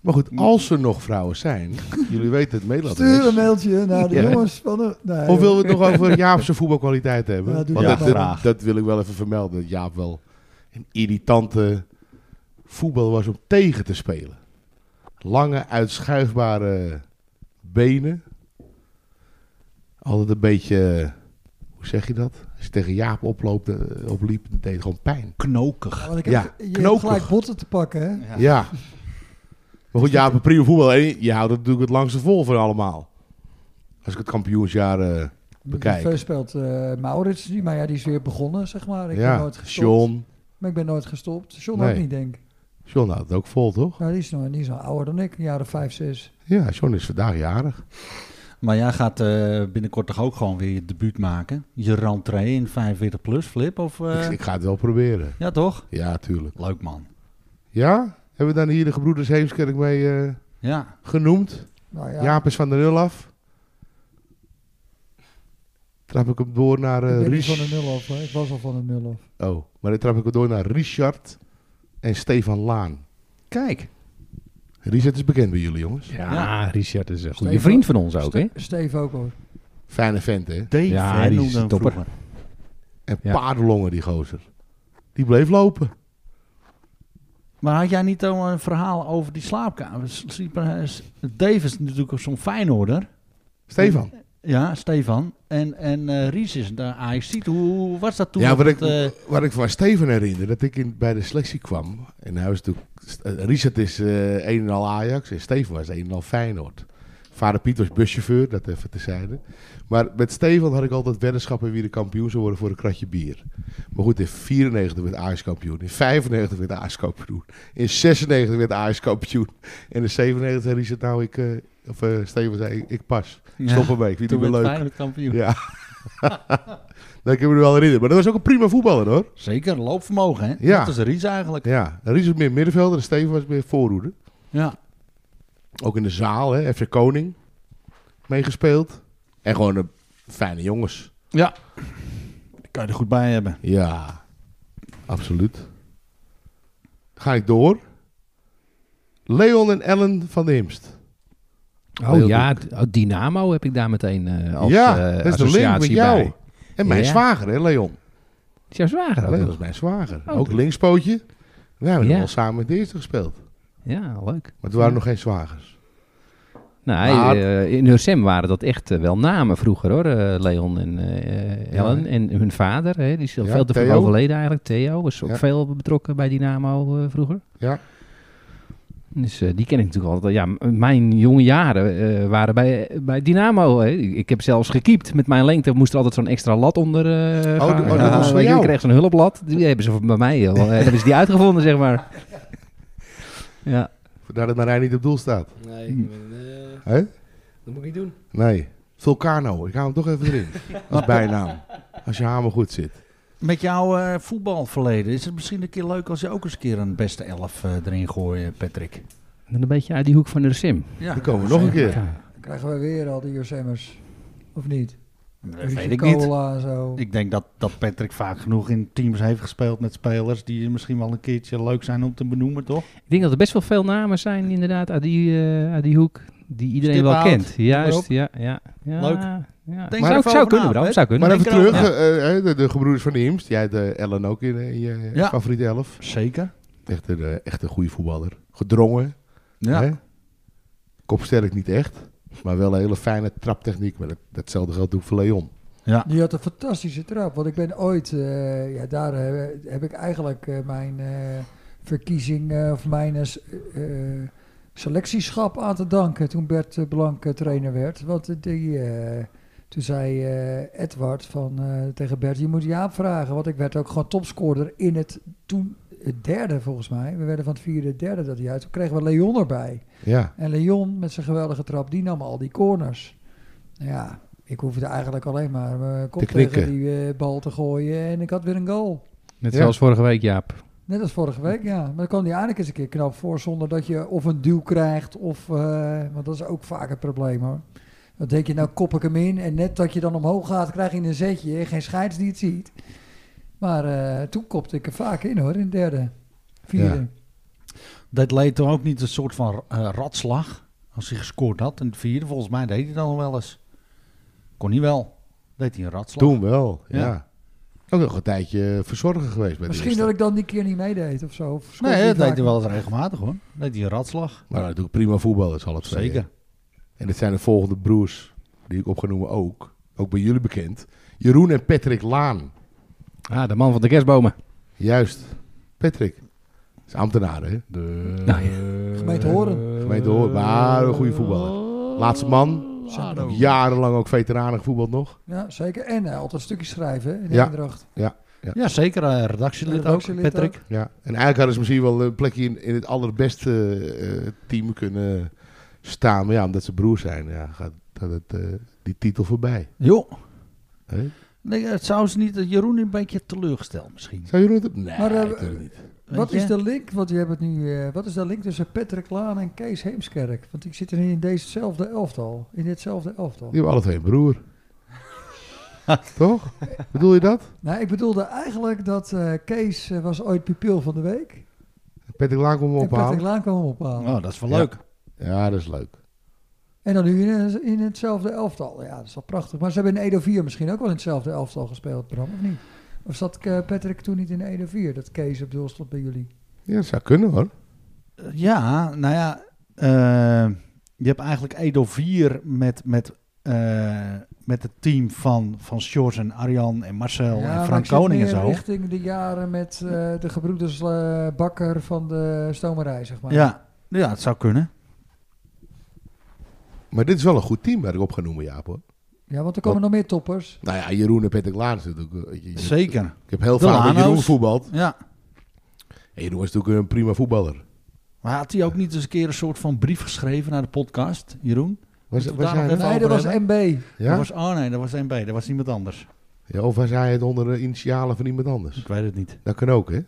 S5: Maar goed, als er nog vrouwen zijn, jullie weten het
S1: Stuur een
S5: mailadres.
S1: mailtje naar de
S5: Ja.
S1: jongens van de... Nee,
S5: Eh, Of willen we het nog over Jaap's voetbalkwaliteit hebben?
S1: Ja, doe
S5: Want
S1: dat
S5: dat,
S2: maar.
S5: dat, dat wil ik wel even vermelden. Dat Jaap wel een irritante voetbal was om tegen te spelen. Lange, uitschuifbare benen. Altijd een beetje, eh, hoe zeg je dat? Als je tegen Jaap oploopt, eh, opliep, deed het gewoon pijn.
S2: Knokig.
S1: Want ik
S5: Ja,
S1: heb, je hebt
S5: knokig.
S1: gelijk botten te pakken, hè?
S2: Ja.
S5: Ja.
S1: Dus
S5: Maar goed, ja, prima voetbal. En je houdt het natuurlijk het langste vol van allemaal. Als ik het kampioensjaar... eh Bekijk.
S1: Veel speelt eh, Maurits nu, maar ja, die is weer begonnen, zeg maar. Ik ben
S5: ja,
S1: nooit gestopt.
S5: Sean.
S1: Maar ik ben nooit gestopt. John
S5: Nee.
S1: ook niet, denk ik.
S5: Sean houdt het ook vol, toch?
S1: Nou, die is nog die is nog ouder dan ik, een jaar of vijf, zes.
S5: Ja, Sean is vandaag jarig.
S2: Maar jij gaat eh, binnenkort toch ook gewoon weer je debuut maken? Je rentree in 45 plus, Flip? Of, eh,
S5: Ik, ik ga het wel proberen.
S2: Ja, toch?
S5: Ja, tuurlijk.
S2: Leuk, man.
S5: Ja? Hebben we dan hier de gebroeders Heemskerk mee eh,
S2: Ja.
S5: genoemd?
S1: Nou ja,
S5: Jaap is van de nul af. Trap ik hem door naar...
S1: ik
S5: eh
S1: ben niet
S5: Ries-
S1: van een nul af. Hoor. Ik was al van een nul af.
S5: Oh, maar dan trap ik hem door naar Richard en Stefan Laan.
S2: Kijk.
S5: Richard is bekend bij jullie, jongens.
S6: Ja,
S2: Ja.
S6: Richard is een goede
S1: Steven-
S6: vriend van ons ook, hè?
S1: Steve ook hoor.
S5: Fijne vent, hè?
S2: Dave,
S6: Ja,
S2: hè,
S6: die is
S2: noemde hem
S6: topper.
S2: vroeger.
S5: En
S6: Ja.
S5: paardenlongen, die gozer. Die bleef lopen.
S2: Maar had jij niet al een verhaal over eh, die slaapkamers? Dave is natuurlijk ook zo'n Feyenoorder.
S5: Stefan.
S2: Ja, Stefan. En, en eh, Ries is daar AXC. Hoe, hoe was dat toen?
S5: ja,
S2: op
S5: wat ik,
S2: het, eh,
S5: wat ik van Steven herinner, dat ik in, bij de selectie kwam. En hij was natuurlijk, eh, Richard is eh, een en al Ajax en Steven was een en al Feyenoord. Vader Piet was buschauffeur, dat even tezijde. Maar met Steven had ik altijd weddenschappen wie de kampioen zou worden voor een kratje bier. Maar goed, in 94 werd Ajax kampioen, in 95 werd Ajax kampioen, in 96 werd Ajax kampioen. En in 97 zei Richard nou, ik, eh, of eh, Steven zei, ik, ik pas.
S2: ja,
S5: Stop ermee, ik vind het
S2: toen
S5: niet
S2: werd
S5: meer leuk.
S2: Feyenoord kampioen.
S5: Ja. dat kan ik me wel herinneren. Maar dat was ook een prima voetballer hoor.
S2: Zeker, loopvermogen, hè?
S5: Ja.
S2: Dat is Ries eigenlijk.
S5: Ja, Ries was meer middenvelder en Steven was meer voorhoede.
S2: Ja.
S5: Ook in de zaal, hè, FC Koning meegespeeld. En gewoon een fijne jongens.
S2: Daar kan je er goed bij hebben.
S5: Ja, absoluut. Ga ik door. Leon en Ellen van de Himst.
S6: Oh ja, d- oh, Dynamo heb ik daar meteen eh, als
S5: ja,
S6: eh,
S5: dat is de link met
S6: associatie
S5: jou.
S6: bij.
S5: En mijn
S6: Ja.
S5: zwager, hè, Leon.
S6: Is jouw zwager ook
S5: Leon
S6: nog?
S5: is mijn zwager.
S6: Oh,
S5: ook
S6: dat-
S5: linkspootje. We hebben
S6: Ja.
S5: al samen in de eerste gespeeld.
S6: Ja, leuk.
S5: Maar toen waren
S6: Ja.
S5: nog geen zwagers.
S6: Nou,
S5: Maar-
S6: eh, in Hursem waren dat echt eh, wel namen vroeger hoor, eh, Leon en eh, Ellen
S5: Ja.
S6: en hun vader. Hè, die is al
S5: Ja,
S6: veel te vroeg
S5: Theo.
S6: overleden eigenlijk. Theo was ook
S5: Ja.
S6: veel betrokken bij Dynamo eh, vroeger.
S5: Ja.
S6: Dus eh, die ken ik natuurlijk altijd. Ja, m- mijn jonge jaren eh, waren bij, bij Dynamo. Hè. Ik ik heb zelfs gekiept. Met mijn lengte moest er altijd zo'n extra lat onder eh
S5: Oh,
S6: gaan.
S5: dat- oh, dat was van
S6: Ik
S5: jou.
S6: kreeg zo'n hulplat. Die hebben ze voor- bij mij eh, hebben ze die uitgevonden, zeg maar. Ja.
S5: Vandaar dat Marijn niet op doel staat.
S4: Nee,
S6: Hm.
S4: ik ben, eh,
S5: Hè?
S4: dat moet ik niet doen.
S5: Nee. Vulcano. Ik hou hem toch even erin. Als bijnaam. Als je hamer goed zit.
S2: Met jouw eh, voetbalverleden is het misschien een keer leuk als je ook eens een keer een beste elf eh, erin gooit, Patrick.
S6: En een beetje uit die hoek van Ursim.
S2: Ja,
S5: Dan komen we nog een keer.
S1: Dan krijgen we weer al die Jursemmers. Of niet?
S2: Dat
S1: Ruzie
S2: weet ik niet.
S1: cola en zo.
S2: Ik denk dat, dat Patrick vaak genoeg in teams heeft gespeeld met spelers die misschien wel een keertje leuk zijn om te benoemen, toch?
S6: Ik denk dat er best wel veel namen zijn inderdaad uit die, eh, uit die hoek die iedereen wel
S2: Stiphout,
S6: kent. Juist,
S2: op.
S6: ja, ja, ja.
S2: Leuk.
S6: Ja.
S2: Denk er
S6: zou,
S2: even
S6: zou
S2: over
S6: kunnen,
S2: na,
S6: Bram.
S2: hè?
S6: Zou kunnen.
S5: Maar even
S2: Denk erover
S5: terug. eh, eh, de, de gebroeders van de Imst. Jij hebt eh, Ellen ook in, eh, in je
S2: Ja.
S5: favoriete elf.
S2: Zeker.
S5: Echt een, eh, echt een goede voetballer. Gedrongen.
S2: Ja.
S5: Hè? Kopsterk niet echt. Maar wel een hele fijne traptechniek. Maar dat, datzelfde geldt ook voor Leon.
S1: Die had een fantastische trap. Want ik ben ooit, eh, ja, daar heb, heb ik eigenlijk eh, mijn eh, verkiezing eh, of mijn eh, s- eh, selectieschap aan te danken toen Bert eh, Blank eh, trainer werd. Want eh, die, eh, toen zei eh, Edward van, eh, tegen Bert, je moet Jaap vragen. Want ik werd ook gewoon topscorer in het toen het derde volgens mij. We werden van het vierde het derde dat jaar. Toen kregen we Leon erbij.
S5: Ja.
S1: En Leon met zijn geweldige trap, die nam al die corners. Nou Ja, ik hoefde eigenlijk alleen maar mijn kop
S5: Te knikken.
S1: tegen die eh, bal te gooien en ik had weer een goal.
S6: Net
S5: Ja.
S6: zoals vorige week, Jaap.
S1: Net als vorige week, ja. Maar dan kwam die eigenlijk eens een keer knap voor zonder dat je of een duw krijgt of... eh, want dat is ook vaak het probleem hoor. Dan denk je, nou kop ik hem in en net dat je dan omhoog gaat krijg je een zetje. Geen scheids die het ziet. Maar eh, toen kopte ik er vaak in hoor, in het derde, vierde.
S5: Ja.
S2: Dat leed toch ook niet een soort van eh, ratslag als hij gescoord had in het vierde. Volgens mij deed hij dat nog wel eens. Kon hij wel. Deed hij een ratslag.
S5: Toen wel. Ja.
S2: Ja.
S5: Ook nog een tijdje verzorger geweest bij de
S1: Misschien
S5: Imst.
S1: dat ik dan die keer niet meedeed of zo. Of scoorde
S2: Nee,
S1: ik
S2: dat deed
S1: vaak
S2: hij wel eens regelmatig hoor. Deed hij een ratslag.
S5: Maar natuurlijk prima voetballers, alle twee.
S2: Zeker.
S5: En dat zijn de volgende broers die ik op ga noemen ook. Ook bij jullie bekend. Jeroen en Patrick Laan.
S6: Ah, de man van de kerstbomen.
S5: Juist. Patrick. Dat is ambtenaar, hè?
S6: Nou
S1: Gemeente Horen.
S5: Gemeente Hoorn, maar een goede voetballer. Laatste man.
S1: Sado.
S5: Jarenlang ook veteranen gevoetbald nog.
S1: Ja, zeker. En eh, altijd stukjes schrijven hè, in
S5: Ja.
S1: Eendracht.
S2: Ja, zeker. eh, redactielid,
S1: Redactielid
S2: ook, Patrick.
S5: Ja. En eigenlijk hadden ze misschien wel een plekje in, in het allerbeste eh, team kunnen staan. Maar ja, omdat ze broers zijn, ja, gaat, gaat het, eh, die titel voorbij.
S2: Jo.
S5: Hè?
S2: Nee, het zou ze niet, Jeroen een beetje teleurgesteld misschien.
S5: Zou Jeroen het... Nee,
S1: Maar, eh,
S5: natuurlijk niet.
S2: Weet
S1: Wat
S2: je?
S1: is de link? Want je hebt het nu. eh, wat is de link tussen Patrick Laan en Kees Heemskerk? Want ik zit er nu in dezezelfde elftal. In ditzelfde elftal.
S5: Die hebben alle twee een broer. Toch? Bedoel je dat?
S1: Nou, ik bedoelde eigenlijk dat eh, Kees eh, was ooit pupil van de week.
S5: Patrick Laan komt hem
S1: En Patrick
S5: ophalen.
S1: Laan kwam hem ophalen.
S2: Oh, dat is wel
S5: Ja.
S2: leuk.
S5: Ja, dat is leuk.
S1: En dan nu in, eh, in hetzelfde elftal. Ja, dat is wel prachtig. Maar ze hebben in Edo 4 misschien ook wel in hetzelfde elftal gespeeld, Bram, of niet? Of zat eh, Patrick toen niet in Edo 4? Dat Kees op doel stond bij jullie.
S5: Ja, dat zou kunnen hoor.
S2: Ja, nou ja. eh, je hebt eigenlijk Edo 4 met, met eh, met het team van, van Sjors en Arjan en Marcel
S1: Ja,
S2: en
S1: maar
S2: Frank
S1: ik zit
S2: Koning en
S1: meer
S2: zo.
S1: richting de jaren met eh, de gebroeders eh, Bakker van de stomerij, zeg maar.
S2: Ja, ja, het zou kunnen.
S5: Maar dit is wel een goed team waar ik op ga noemen, Jaap. Hoor.
S1: ja, want er komen nog meer toppers.
S5: Nou ja, Jeroen en Patrick Laan is natuurlijk... eh, je- je-
S2: Zeker.
S5: Ik heb heel
S2: De
S5: vaak met Jeroen
S2: Lano's.
S5: voetbald.
S2: Ja.
S5: En Jeroen was natuurlijk een prima voetballer.
S2: Maar had hij ook niet eens een keer een soort van brief geschreven naar de podcast, Jeroen?
S5: Was,
S2: Moeten we
S5: was
S2: daar
S5: hij
S2: nog
S5: dat?
S2: even-
S1: Nee, dat was MB.
S2: Dat
S5: Ja?
S2: was, oh nee, dat was MB, dat was iemand anders.
S5: ja? Of was hij het onder de initialen van iemand anders?
S2: Ik weet het niet.
S5: Dat kan ook, hè?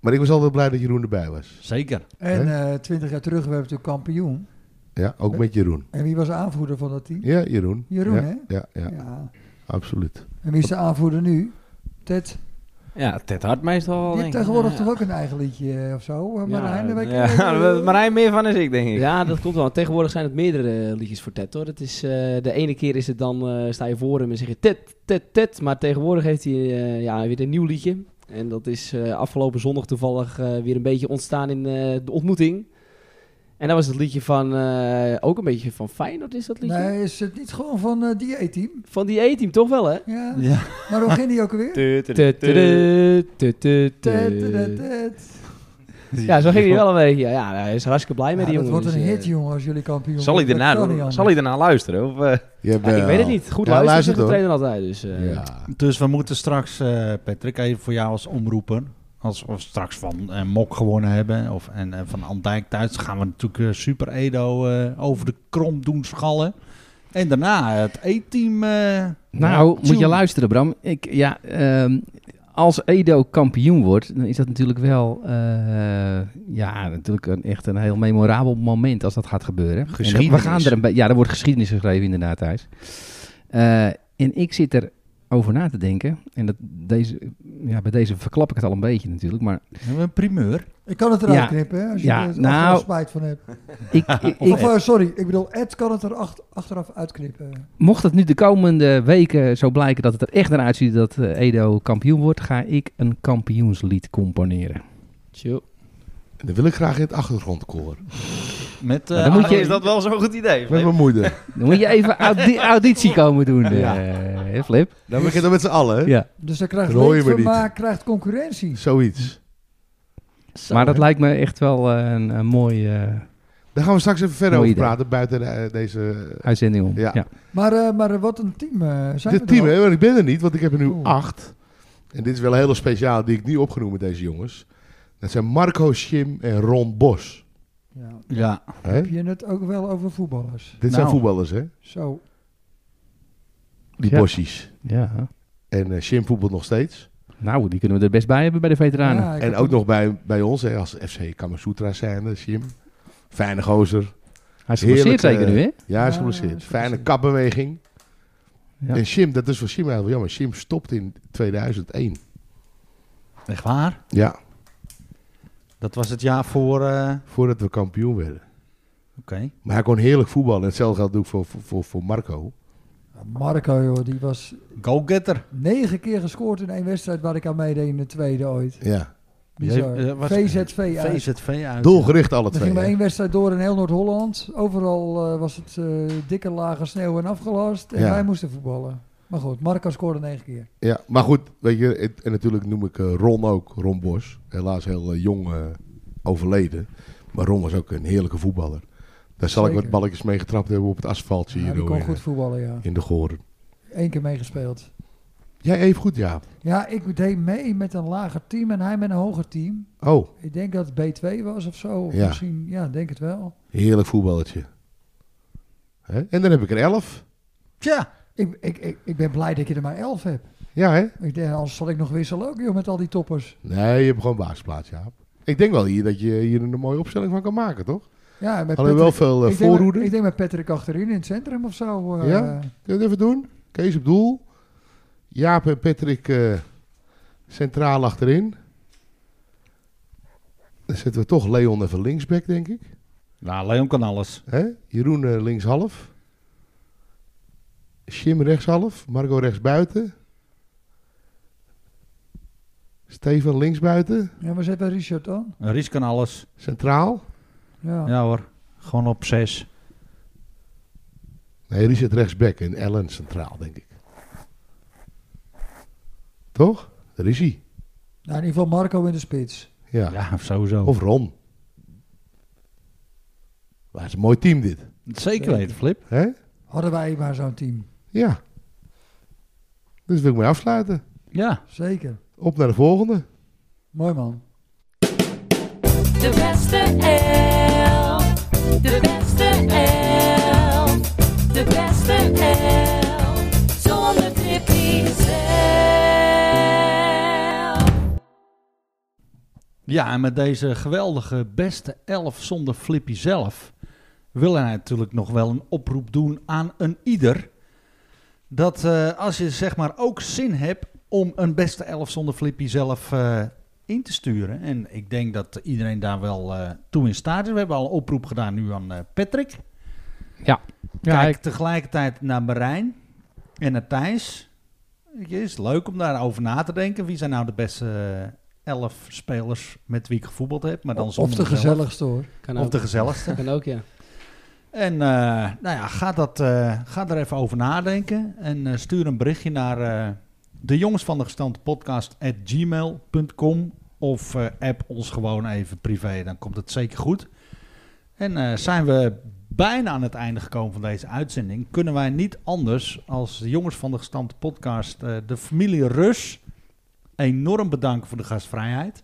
S5: Maar ik was altijd blij dat Jeroen erbij was.
S2: Zeker.
S1: En eh, twintig jaar terug werd natuurlijk kampioen.
S5: Ja, ook met Jeroen.
S1: En wie was de aanvoerder van dat team?
S5: Ja, Jeroen.
S1: Jeroen,
S5: ja,
S1: hè?
S5: Ja, ja, absoluut.
S1: En wie is de aanvoerder nu? Ted.
S3: Ja, Ted Hart meestal wel,
S1: Die
S3: denk
S1: heeft
S3: ik.
S1: tegenwoordig
S3: Ja.
S1: toch eh, ook een eigen liedje eh, of zo? Eh, Marijn,
S3: ja,
S1: daar weet ik niet.
S3: ja, Marijn meer van is ik, denk ik.
S4: Ja, dat klopt wel. Tegenwoordig zijn het meerdere liedjes voor Ted, hoor. Het is, eh, de ene keer is het dan, eh, sta je voor hem en zeg je Ted, Ted, Ted. Maar tegenwoordig heeft hij eh, ja, weer een nieuw liedje. En dat is eh, afgelopen zondag toevallig eh, weer een beetje ontstaan in eh, de ontmoeting. En dat was het liedje van, eh, ook een beetje van Feyenoord is dat liedje?
S1: Nee, is het niet gewoon van eh die team
S4: Van die E-team toch wel, hè?
S1: Ja.
S2: Ja.
S1: Maar hoe ging die ook alweer?
S4: Tudu, tudu,
S1: Ted,
S4: tudu.
S1: ted, ted.
S4: Ja, zo ging hij wel een beetje. Ja, nou, hij is hartstikke blij met
S1: Ja,
S4: die
S1: Ah, dat
S4: jongen.
S1: wordt een
S4: dus, eh,
S1: hit, jongen, als jullie kampioen
S3: Zal hij,
S1: worden. Dat kan niet
S3: daarna,
S1: anders.
S3: zal hij daarna luisteren? Of, eh,
S4: ja, ik weet het niet. Goed
S5: Ja,
S4: luisteren
S5: luister
S4: zegt de
S5: toch.
S4: trainer altijd. Dus, eh,
S5: Ja.
S2: Dus we moeten straks, eh, Patrick, even voor jou als omroeper. Als we straks van eh, Mok gewonnen hebben of, en eh, van Andijk thuis, gaan we natuurlijk eh, Super Edo eh, over de krom doen schallen. En daarna het E-team. eh,
S6: Nou, moet je
S2: tune.
S6: luisteren, Bram. Ik, ja, ehm, als Edo kampioen wordt, dan is dat natuurlijk wel eh, ja, natuurlijk een, echt een heel memorabel moment als dat gaat gebeuren. En dat-
S5: Geschiedenis.
S6: we gaan er een be- ja, er wordt geschiedenis geschreven inderdaad, Thijs. Eh, en ik zit erover na te denken. En dat deze, ja, bij deze verklap ik het al een beetje natuurlijk. Maar
S2: hebben we een primeur.
S1: Ik kan het eruit
S6: Ja.
S1: knippen, hè, als je
S6: Ja,
S1: er
S6: nou-
S1: achteraf spijt van hebt.
S6: ik, ik,
S1: Of,
S6: ik-
S1: eh, sorry, ik bedoel, Ed kan het er acht- achteraf uitknippen.
S6: mocht het nu de komende weken zo blijken dat het er echt naar uitziet dat eh, Edo kampioen wordt, ga ik een kampioenslied componeren.
S4: chill.
S5: En dan wil ik graag in het achtergrondkoor.
S2: Met, eh,
S6: Maar dan moet je-
S2: Arjen.
S3: Ah, is dat wel zo'n goed idee?
S5: Met
S3: Flip?
S5: mijn moeder.
S6: Dan moet je even audi- auditie komen doen, eh, hè, Flip.
S5: Dan begint het met z'n allen, hè?
S6: Ja.
S1: Dus dan krijgt
S5: Dan hoor je me
S1: Leed
S5: niet.
S1: maar krijgt concurrentie.
S5: Zoiets.
S6: maar dat lijkt me echt wel eh, een, een mooie eh,
S5: Daar gaan we straks even verder
S6: Mooi
S5: over
S6: idee.
S5: praten buiten eh, deze...
S6: uitzending om.
S5: Ja.
S6: Ja.
S1: Maar, eh, maar eh, wat een team eh zijn
S5: dit
S1: we er
S5: team,
S1: al?
S5: hè? Want ik ben er niet, want ik heb er nu
S1: Oeh.
S5: acht. En dit is wel een hele speciaal die ik niet opgenoemd met deze jongens. Dat zijn Marco Schim en Ron Bos.
S1: Ja.
S2: Ja,
S5: Hè?
S1: Heb je het ook wel over voetballers?
S5: Dit zijn
S2: Nou.
S5: voetballers, hè?
S1: Zo.
S5: Die
S6: Ja.
S5: Bossies.
S6: Ja.
S5: En eh, Schim voetbalt nog steeds.
S6: Nou, die kunnen we er best bij hebben bij de veteranen.
S1: Ja, ik
S5: En
S1: heb
S5: ook nog bij, bij ons, hè, als FC Kamasutra zijn, Schim. Fijne gozer.
S6: Hij is geblesseerd
S5: Heerlijk,
S6: zeker nu, hè?
S5: Ja, hij is
S1: Ja, hij
S5: geblesseerd.
S1: is
S5: Fijne
S1: geblesseerd.
S5: kapbeweging.
S6: Ja.
S5: En Schim, dat is voor Schim heel jammer. Schim stopt in 2001.
S2: echt waar.
S5: Ja,
S2: Dat was het jaar voor... eh,
S5: voordat we kampioen werden.
S2: Oké.
S5: Maar hij kon heerlijk voetballen. En hetzelfde geldt ook voor, voor, voor Marco.
S1: Marco, joh, die was
S2: Go-getter.
S1: negen keer gescoord in één wedstrijd waar ik aan meedeed in de tweede ooit.
S5: Ja.
S1: Bizar.
S2: Eh, was-
S1: VZV uit.
S2: VZV uit.
S5: Doelgericht alle
S1: Er
S5: twee.
S1: ging maar
S5: hè?
S1: één wedstrijd door in heel Noord-Holland. Overal eh, was het eh, dikke lage sneeuw en afgelast. En
S5: Ja.
S1: wij moesten voetballen. Maar goed, Marco scoorde negen keer.
S5: Ja, maar goed, weet je, het- en natuurlijk noem ik eh, Ron ook, Ron Bos. Helaas heel eh, jong eh, overleden. Maar Ron was ook een heerlijke voetballer. Daar zal ik
S1: Zeker.
S5: wat balletjes mee getrapt hebben op het asfaltje
S1: Ja,
S5: hier
S1: die
S5: door
S1: kon
S5: in,
S1: goed voetballen, ja.
S5: in de Goren.
S1: Eén keer meegespeeld.
S5: Jij even goed, ja.
S1: Ja, ik deed mee met een lager team en hij met een hoger team.
S5: Oh,
S1: Ik denk dat het B2 was of zo. Of
S5: Ja.
S1: misschien, ja, ik denk het wel.
S5: heerlijk voetballetje. Hè? En dan heb ik er elf.
S2: Tja.
S1: Ik, ik, ik, ik ben blij dat je er maar 11 hebt.
S5: Ja, hè?
S1: Ik denk, anders zal ik nog wisselen ook, joh, met al die toppers.
S5: Nee, je hebt gewoon baasplaats, Jaap. Ik denk wel hier dat je hier een mooie opstelling van kan maken, toch?
S1: Ja, met
S5: Hadden we wel
S1: Patrick-
S5: veel eh,
S1: ik denk met-
S5: voorhoeden.
S1: Ik denk met Patrick achterin in het centrum of zo. eh.
S5: Ja? Kun je het even doen? Kees op doel. Jaap en Patrick eh, centraal achterin. Dan zetten we toch Leon even linksback, denk ik.
S2: Nou, Leon kan alles.
S5: Hè? Jeroen eh, linkshalf. Jim rechtshalf. Marco rechtsbuiten. Steven linksbuiten.
S1: Ja, maar zet bij Richard dan.
S2: Eh, Ries kan alles.
S5: Centraal.
S1: Ja.
S2: Ja hoor. Gewoon op zes.
S5: Nee, Richard rechtsback en Ellen centraal, denk ik. Toch? Daar is hij.
S1: Nou, in ieder geval Marco in de spits.
S5: Ja.
S2: Ja, sowieso.
S5: Of Ron. Maar het is een mooi team dit.
S2: Zeker weten, Flip.
S5: Hè?
S1: Hadden wij maar zo'n team.
S5: Ja. Dus wil ik mee afsluiten.
S2: Ja.
S1: Zeker.
S5: Op naar de volgende.
S1: Mooi man.
S9: De beste elf. De beste elf. De beste elf. Zonder trippie zelf.
S2: Ja, en met deze geweldige beste elf zonder Flippy zelf... wil hij natuurlijk nog wel een oproep doen aan een ieder... dat eh, als je zeg maar ook zin hebt om een beste elf zonder Flippy zelf eh, in te sturen... en ik denk dat iedereen daar wel eh, toe in staat is. We hebben al een oproep gedaan nu aan eh, Patrick...
S6: Ja,
S2: Kijk
S6: ik,
S2: tegelijkertijd naar Marijn en naar Thijs. Weet je, Het is leuk om daarover na te denken. Wie zijn nou de beste eh, elf spelers met wie ik gevoetbald heb? Maar dan
S1: of
S2: zonder
S1: de nou.
S2: mezelf.
S1: gezelligste hoor.
S4: Kan
S2: Of de gezelligste.
S4: Kan ook, ja.
S2: En eh, nou ja, ga, dat, eh, ga er even over nadenken. En eh, stuur een berichtje naar eh, de jongens van de gestante podcast at gmail.com. Of eh, app ons gewoon even privé, dan komt het zeker goed. En eh, zijn we bijna aan het einde gekomen van deze uitzending, kunnen wij niet anders als de jongens van de gestampte podcast, eh, de familie Rus, enorm bedanken voor de gastvrijheid.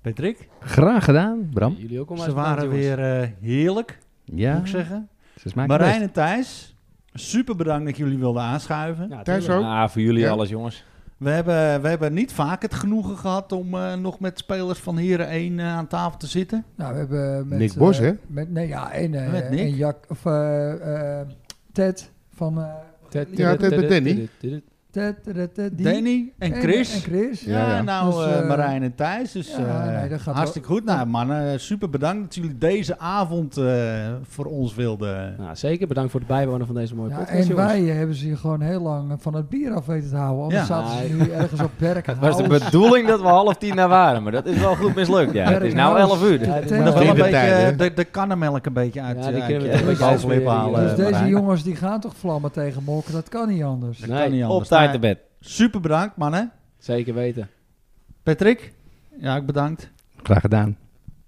S2: Patrick,
S6: graag gedaan, Bram.
S4: Jullie ook al
S2: ze waren weer eh, heerlijk,
S6: Ja,
S2: moet ik zeggen.
S6: ze smaakt
S2: Marijn
S6: best.
S2: en Thijs, super bedankt dat jullie wilden aanschuiven.
S5: Thijs ook.
S3: Ah, voor jullie
S5: Ja.
S3: alles, jongens.
S2: We, hebben, we hebben niet vaak het genoegen gehad om eh, nog met spelers van Heren 1 eh, aan tafel te zitten.
S1: Nou, we hebben met...
S5: Nick Bos,
S1: eh,
S5: hè?
S1: Met, nee, ja, en, eh,
S2: Met Nick.
S1: en Jack, of, eh, eh, Ted van... eh,
S5: Ja, Ted met Danny.
S1: Ted, Ted, Ted, die.
S2: Danny en Chris.
S1: En, Chris.
S2: ja,
S5: Ja, ja.
S2: nou
S1: Dus,
S2: eh,
S1: eh,
S2: Marijn en Thijs. Dus
S1: ja,
S2: eh,
S1: nee, dat gaat
S2: hartstikke goed. Nou mannen, super bedankt dat jullie deze avond eh, voor ons wilden.
S4: Nou, zeker. Bedankt voor het bijwonen van deze mooie
S1: Ja,
S4: podcast,
S1: en
S4: jongens.
S1: wij hebben ze hier gewoon heel lang van het bier af weten te houden. Anders
S2: Ja.
S1: zaten ze nu ergens op werk.
S3: Het was de bedoeling dat we half tien daar waren, maar dat is wel goed mislukt. Ja, het is nou elf uur.
S4: Ja,
S1: Dus
S4: dit is
S2: Nog
S4: nog
S2: wel een beetje
S5: Kindertijd, hè?
S2: eh, de, de kannenmelk een beetje uit
S4: Ja, die
S2: eh,
S4: kunnen we
S2: uit
S4: toch
S2: je
S4: een beetje
S2: bovenlip
S4: uitsmeren,
S2: halen.
S4: ja.
S1: dus
S4: eh,
S1: deze
S2: Marijn.
S1: jongens die gaan toch vlammen tegen Molken? Dat kan niet anders.
S2: Dat
S4: Nee,
S2: kan niet
S3: Op
S2: anders.
S3: tijd
S2: Maar
S3: te bed.
S2: Super bedankt mannen.
S4: Zeker weten.
S2: Patrick, ja ik bedankt.
S6: Graag gedaan.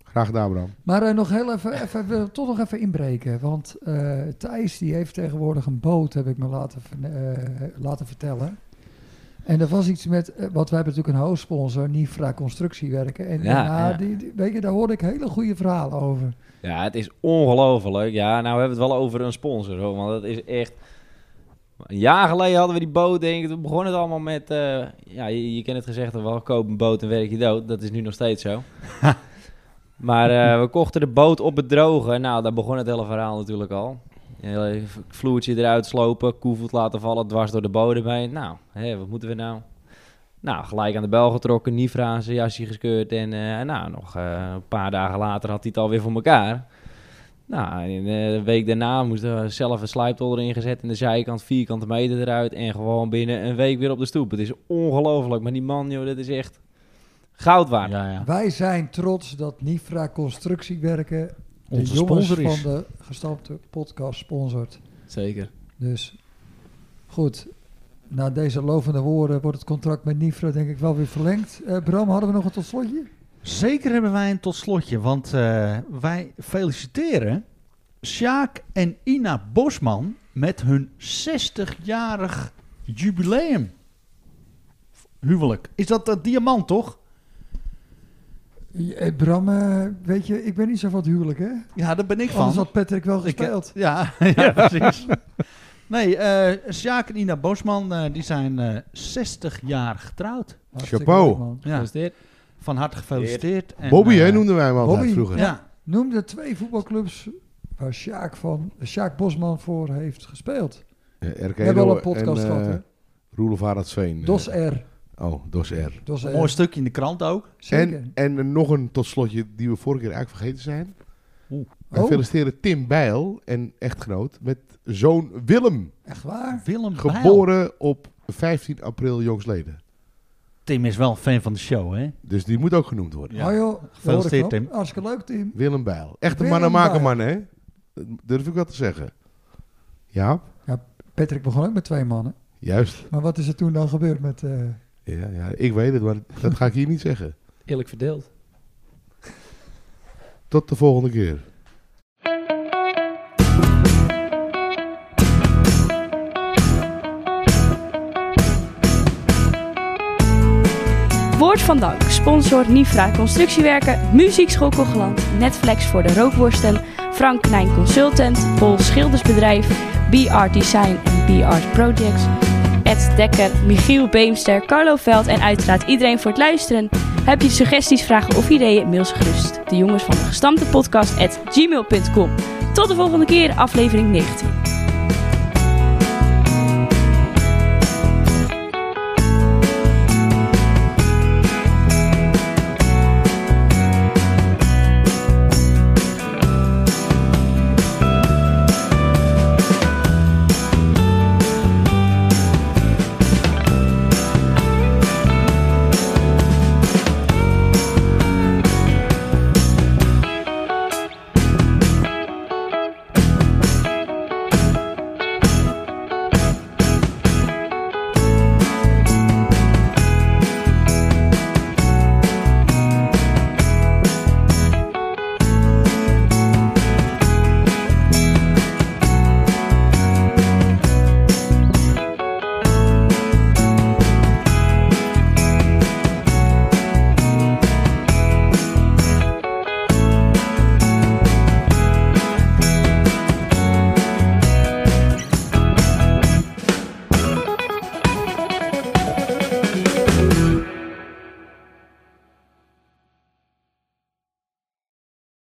S5: Graag gedaan, Bram.
S1: Maar eh, nog heel even, even, wil toch nog even inbreken. Want eh, Thijs die heeft tegenwoordig een boot, heb ik me laten, ver- eh, laten vertellen. En er was iets met, eh, want wij hebben natuurlijk een hoofdsponsor, Nifra Constructiewerken. En
S3: Ja,
S1: daarna,
S3: ja.
S1: Die, die- weet je, daar hoorde ik hele goede verhalen over.
S3: Ja, het is ongelooflijk. Ja, nou hebben we het wel over een sponsor, hoor, want dat is echt... Een jaar geleden hadden we die boot, denk ik. Toen begon het allemaal met... eh, ja, je, je kent het gezegde wel, koop een boot en werk je dood. Dat is nu nog steeds zo. maar eh, we kochten de boot op het droge. Nou, daar begon het hele verhaal natuurlijk al. Heel even Vloertje eruit slopen, koevoet laten vallen, dwars door de bodem heen. Nou, hè, wat moeten we nou? Nou, gelijk aan de bel getrokken, Nifra aan zijn jasje geskeurd. En eh, nou, nog eh, een paar dagen later had hij het alweer voor elkaar. Nou, en, eh, de week daarna moesten we zelf een slijptol erin gezet. En de zijkant vierkante meter eruit. En gewoon binnen een week weer op de stoep. Het is ongelooflijk. Maar die man, joh, dat is echt goud waard.
S2: Ja, ja.
S1: Wij zijn trots dat Nifra Constructiewerken de
S2: Onze
S1: jongens
S2: sponsor is.
S1: van de gestampte podcast sponsort.
S4: Zeker.
S1: Dus goed, na deze lovende woorden wordt het contract met Nifra denk ik wel weer verlengd. Eh, Bram, hadden we nog een tot slotje?
S2: Zeker hebben wij een tot slotje, want eh, wij feliciteren Sjaak en Ina Bosman met hun 60-jarig jubileum. Huwelijk. Is dat dat diamant, toch?
S1: Ja, eh, Bram, eh, weet je, ik ben niet zo van het huwelijk, hè?
S2: Ja, daar ben ik van.
S1: Anders had Patrick wel
S2: Ik- eh,
S1: gespeeld.
S2: Ja, ja precies. Nee, eh Sjaak en Ina Bosman eh, die zijn eh, 60 jaar getrouwd.
S1: Hartstikke
S5: Chapeau.
S1: leuk, man.
S2: Ja,
S4: Dus dit.
S2: van harte gefeliciteerd. En,
S5: Bobby, hè,
S2: eh,
S5: noemden wij hem altijd
S1: Bobby.
S5: vroeger.
S2: Ja,
S1: Noemde twee voetbalclubs waar Sjaak, van, eh, Sjaak Bosman voor heeft gespeeld.
S5: Ja, RK
S1: We hebben al een
S5: Edo
S1: podcast
S5: en,
S1: gehad,
S5: eh,
S1: hè?
S5: Roelof Haraldsveen. eh.
S1: Dos R.
S5: Oh, Dos R.
S1: Dos R.
S2: mooi stukje in de krant ook.
S1: Zeker.
S5: En, en nog een tot slotje die we vorige keer eigenlijk vergeten zijn. Wij
S1: Oh,
S5: feliciteren Tim Bijl en echtgenoot met zoon Willem.
S1: echt waar?
S2: Willem Bijl.
S5: Geboren op 15 april jongsleden.
S2: Tim is wel een fan van de show, hè?
S5: Dus die moet ook genoemd worden.
S2: Ja.
S1: Oh joh,
S2: Gefeliciteerd,
S1: hoor ik nog.
S2: Tim.
S1: Hartstikke leuk, Tim.
S5: Willem Bijl. Echt een
S1: Willem
S5: mannen maken
S1: Bijl.
S5: man, hè? Dat durf ik wel te zeggen. Ja,
S1: Patrick begon ook met twee mannen.
S5: juist.
S1: Maar wat is er toen dan gebeurd met... eh,
S5: Ja, ja, ik weet het, maar dat ga ik hier niet zeggen.
S3: Eerlijk verdeeld.
S5: Tot de volgende keer.
S8: Woord van dank, sponsor Nifra Constructiewerken, Muziekschool Kogeland, Netflix voor de rookworsten, Frank Knijn Consultant, Pol Schildersbedrijf, BR Design en BR Projects, Ed Dekker, Michiel Beemster, Carlo Veld en uiteraard iedereen voor het luisteren. Heb je suggesties, vragen of ideeën, mail ze gerust. De jongens van de gestampte podcast at gmail.com. Tot de volgende keer, aflevering 19.